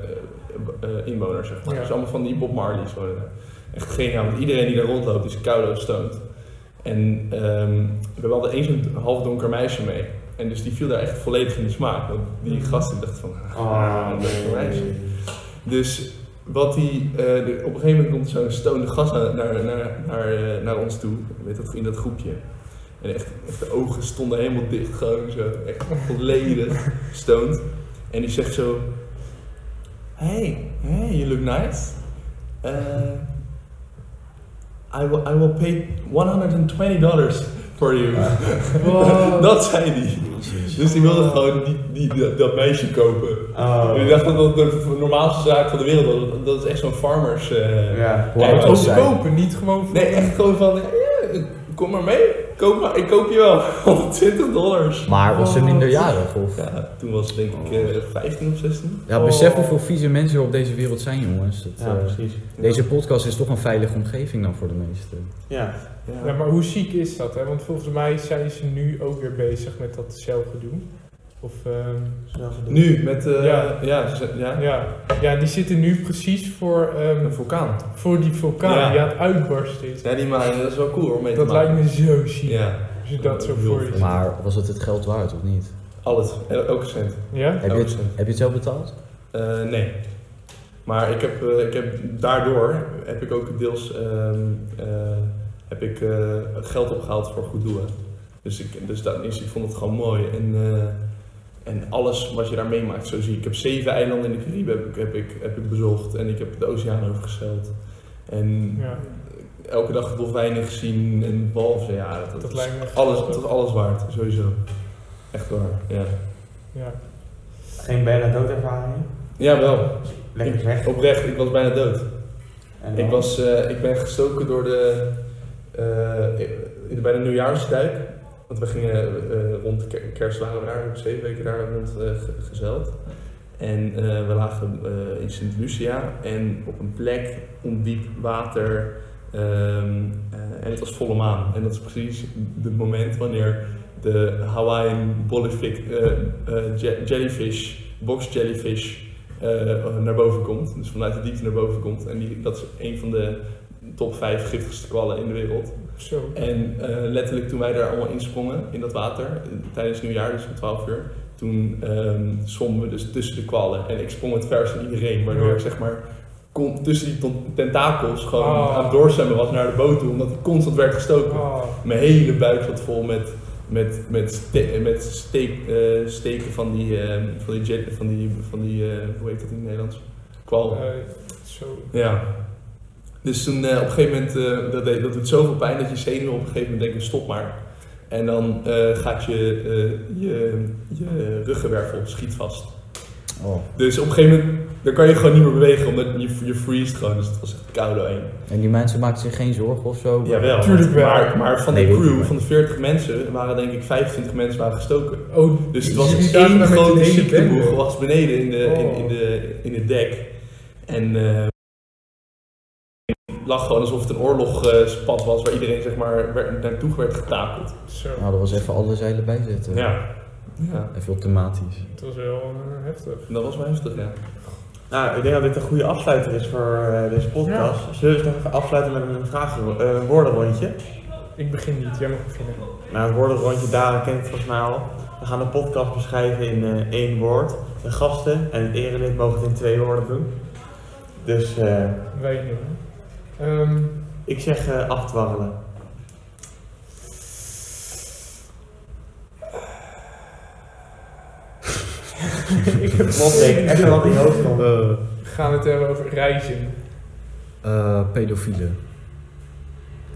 Speaker 2: eh, inwoners, zeg maar.
Speaker 4: Ja.
Speaker 2: Dus allemaal van die Bob Marley's wonen daar. Echt geniaal, want iedereen die daar rondloopt is koude stoned. En ehm, we hadden eens een half donker meisje mee. En dus die viel daar echt volledig in de smaak. Want die gast die dacht van, ah,
Speaker 1: Oh,
Speaker 2: een donker meisje.
Speaker 1: nee.
Speaker 2: Dus wat die, eh, de- op een gegeven moment komt zo'n stoned gast naar, naar, naar, naar, eh, naar ons toe, weet dat, in dat groepje. En echt, echt de ogen stonden helemaal dicht, gewoon zo, echt volledig stoned. En die zegt zo, hey, hey, you look nice. Eh, I, will, I will pay $120 for you.
Speaker 4: Wow.
Speaker 2: dat zei die. Dus die wilde gewoon die, die, dat- dat meisje kopen.
Speaker 1: Oh.
Speaker 2: Ik dacht dat dat de normaalste zaak van de wereld was. Dat- Dat is echt zo'n farmers. eh,
Speaker 1: Ja.
Speaker 3: Hoe oud
Speaker 2: Ja,
Speaker 3: was
Speaker 2: ook
Speaker 3: zij?
Speaker 4: Kopen, niet gewoon voor-
Speaker 2: Nee, echt gewoon van. eh, kom maar mee. Koop maar, ik koop je wel. 120 dollars.
Speaker 3: Maar was ze minderjarig of?
Speaker 2: Ja, toen was het denk ik eh, 15 of 16.
Speaker 3: Ja, besef hoeveel vieze mensen er op deze wereld zijn, jongens. Dat,
Speaker 1: Ja,
Speaker 3: eh,
Speaker 1: precies.
Speaker 3: deze podcast is toch een veilige omgeving dan voor de meesten.
Speaker 1: Ja.
Speaker 4: Ja, maar hoe ziek is dat, hè? Want volgens mij zijn ze nu ook weer bezig met dat celgedoe. Of, ehm,
Speaker 1: Snel gedaan.
Speaker 2: Nu met. eh,
Speaker 4: Ja.
Speaker 2: ja. Ja, ze- ja,
Speaker 4: ja. ja, die zitten nu precies voor, ehm,
Speaker 2: een vulkaan.
Speaker 4: voor die vulkaan
Speaker 2: Ja.
Speaker 4: die aan het uitbarsten is.
Speaker 2: Ja, die maar, dat is wel cool hoor. Mee te
Speaker 4: Dat
Speaker 2: maken.
Speaker 4: lijkt me zo ziek,
Speaker 2: Ja,
Speaker 4: als je dat zo
Speaker 2: Heel
Speaker 4: voor
Speaker 2: veel.
Speaker 4: je ziet.
Speaker 3: Maar was het het geld waard of niet?
Speaker 2: alles. El- Elke cent.
Speaker 4: Ja?
Speaker 3: Heb je het,
Speaker 2: Absoluut.
Speaker 3: heb je het zelf betaald?
Speaker 2: Eh, nee. Maar ik heb, eh, ik heb daardoor heb ik ook deels ehm, eh, heb ik, eh, geld opgehaald voor goed doelen. Dus, ik, dus dat is, ik vond het gewoon mooi. En, eh, en alles wat je daar meemaakt, zo zie ik. Ik heb zeven eilanden in de Caribe heb ik, heb, ik, heb ik bezocht en ik heb de oceaan overgezeild. En
Speaker 4: Ja,
Speaker 2: elke dag dolfijnen gezien en walvissen. Ja, dat, dat
Speaker 4: dat
Speaker 2: is
Speaker 4: lijkt me echt
Speaker 2: alles,
Speaker 4: zo.
Speaker 2: dat is alles waard, sowieso. Echt waar, ja.
Speaker 4: Ja.
Speaker 1: Geen bijna doodervaring.
Speaker 2: Ja, wel.
Speaker 1: Lekker weg.
Speaker 2: Oprecht, ik was bijna dood.
Speaker 1: En dan-
Speaker 2: Ik, was, eh, ik ben gestoken door de. eh, in- bij de nieuwjaarsduik. Want we gingen eh, rond de ker- kerst waren we daar, zeven weken daar rond eh, ge- gezeild. En eh, we lagen eh, in Sint Lucia en op een plek ondiep water. ehm, eh, en het was volle maan. En dat is precies het moment wanneer de Hawaiian Bolivic, eh, eh, je- jellyfish, box jellyfish, eh, naar boven komt. Dus vanuit de diepte naar boven komt. En die, dat is een van de top 5 giftigste kwallen in de wereld.
Speaker 4: Zo.
Speaker 2: En eh, letterlijk toen wij daar allemaal insprongen in dat water, eh, tijdens nieuwjaar, dus om 12 uur, toen ehm zwommen we dus tussen de kwallen. En ik sprong het vers van iedereen, waardoor ik zeg maar kon, tussen die ton- tentakels gewoon
Speaker 4: Ah.
Speaker 2: aan het doorzwemmen was naar de boot toe, omdat ik constant werd gestoken.
Speaker 4: Ah,
Speaker 2: Mijn hele buik zat vol met, met, met, ste- met steek, eh, steken van die, eh, van die, jet, van die, van die eh, hoe heet dat in het Nederlands? Kwal.
Speaker 4: eh, zo.
Speaker 2: Ja. Dus toen eh, op een gegeven moment, eh, dat, deed- dat doet zoveel pijn dat je zenuwen op een gegeven moment denken, stop maar. En dan eh, gaat je, eh, je, je ruggenwervel schiet vast.
Speaker 3: Oh.
Speaker 2: Dus op een gegeven moment, dan kan je gewoon niet meer bewegen, omdat je, je freest gewoon. Dus het was echt koude heen.
Speaker 3: En die mensen maakten zich geen zorgen of zo?
Speaker 2: Jawel.
Speaker 4: Tuurlijk wel.
Speaker 2: Maar, maar van
Speaker 3: Nee,
Speaker 2: de
Speaker 3: weet ik
Speaker 2: crew,
Speaker 3: niet.
Speaker 2: van de 40 mensen, waren denk ik 25 mensen waren gestoken.
Speaker 4: Oh,
Speaker 2: Dus het was
Speaker 4: jullie
Speaker 2: een
Speaker 4: dagen
Speaker 2: één
Speaker 4: met een
Speaker 2: grote
Speaker 4: hele
Speaker 2: ziekteboel
Speaker 4: bende.
Speaker 2: was beneden in de, in,
Speaker 4: Oh.
Speaker 2: in de, in het dek. En eh, het lag gewoon alsof het een oorlogspad was waar iedereen zeg maar werd, naartoe werd getakeld.
Speaker 4: Zo,
Speaker 3: Nou, dat was even alle zeilen bijzetten.
Speaker 2: Ja. ja.
Speaker 3: Even automatisch.
Speaker 4: het was wel eh, heftig.
Speaker 2: En dat was wel heftig, ja.
Speaker 1: Nou, ik denk dat dit een goede afsluiter is voor eh, deze podcast. Zullen we eens nog even afsluiten met een vraag, eh woordenrondje?
Speaker 4: Ik begin niet, jij mag beginnen.
Speaker 1: Nou, het woordenrondje, daar kent het volgens mij al. We gaan de podcast beschrijven in eh, één woord. De gasten en het erelid mogen het in twee woorden doen. Dus eh,
Speaker 4: Wij nu. Ehm,
Speaker 1: ik zeg eh aftwarrelen.
Speaker 4: ik heb
Speaker 1: Wat denk ik? Heb je wat in je hoofd komt?
Speaker 3: Eh,
Speaker 4: We gaan het hebben over reizen.
Speaker 3: eh, pedofielen.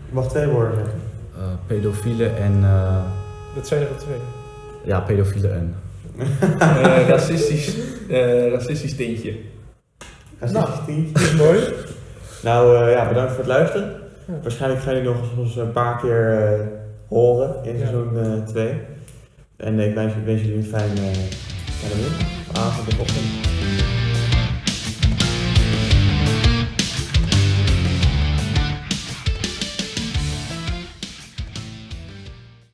Speaker 1: Ik mag twee woorden zeggen.
Speaker 3: Eh, pedofielen en... eh,
Speaker 4: Dat zijn er al twee.
Speaker 3: ja, pedofielen en...
Speaker 2: Eh, racistisch, eh, racistisch tintje.
Speaker 1: Racistisch team.
Speaker 4: Dat is mooi.
Speaker 1: Nou eh, ja, bedankt voor het luisteren.
Speaker 4: Ja.
Speaker 1: Waarschijnlijk gaan jullie nog ons een paar keer eh, horen in
Speaker 4: Ja.
Speaker 1: seizoen eh, 2. eh, en ik wens, wens jullie een fijne, fijne middag, avond of ochtend.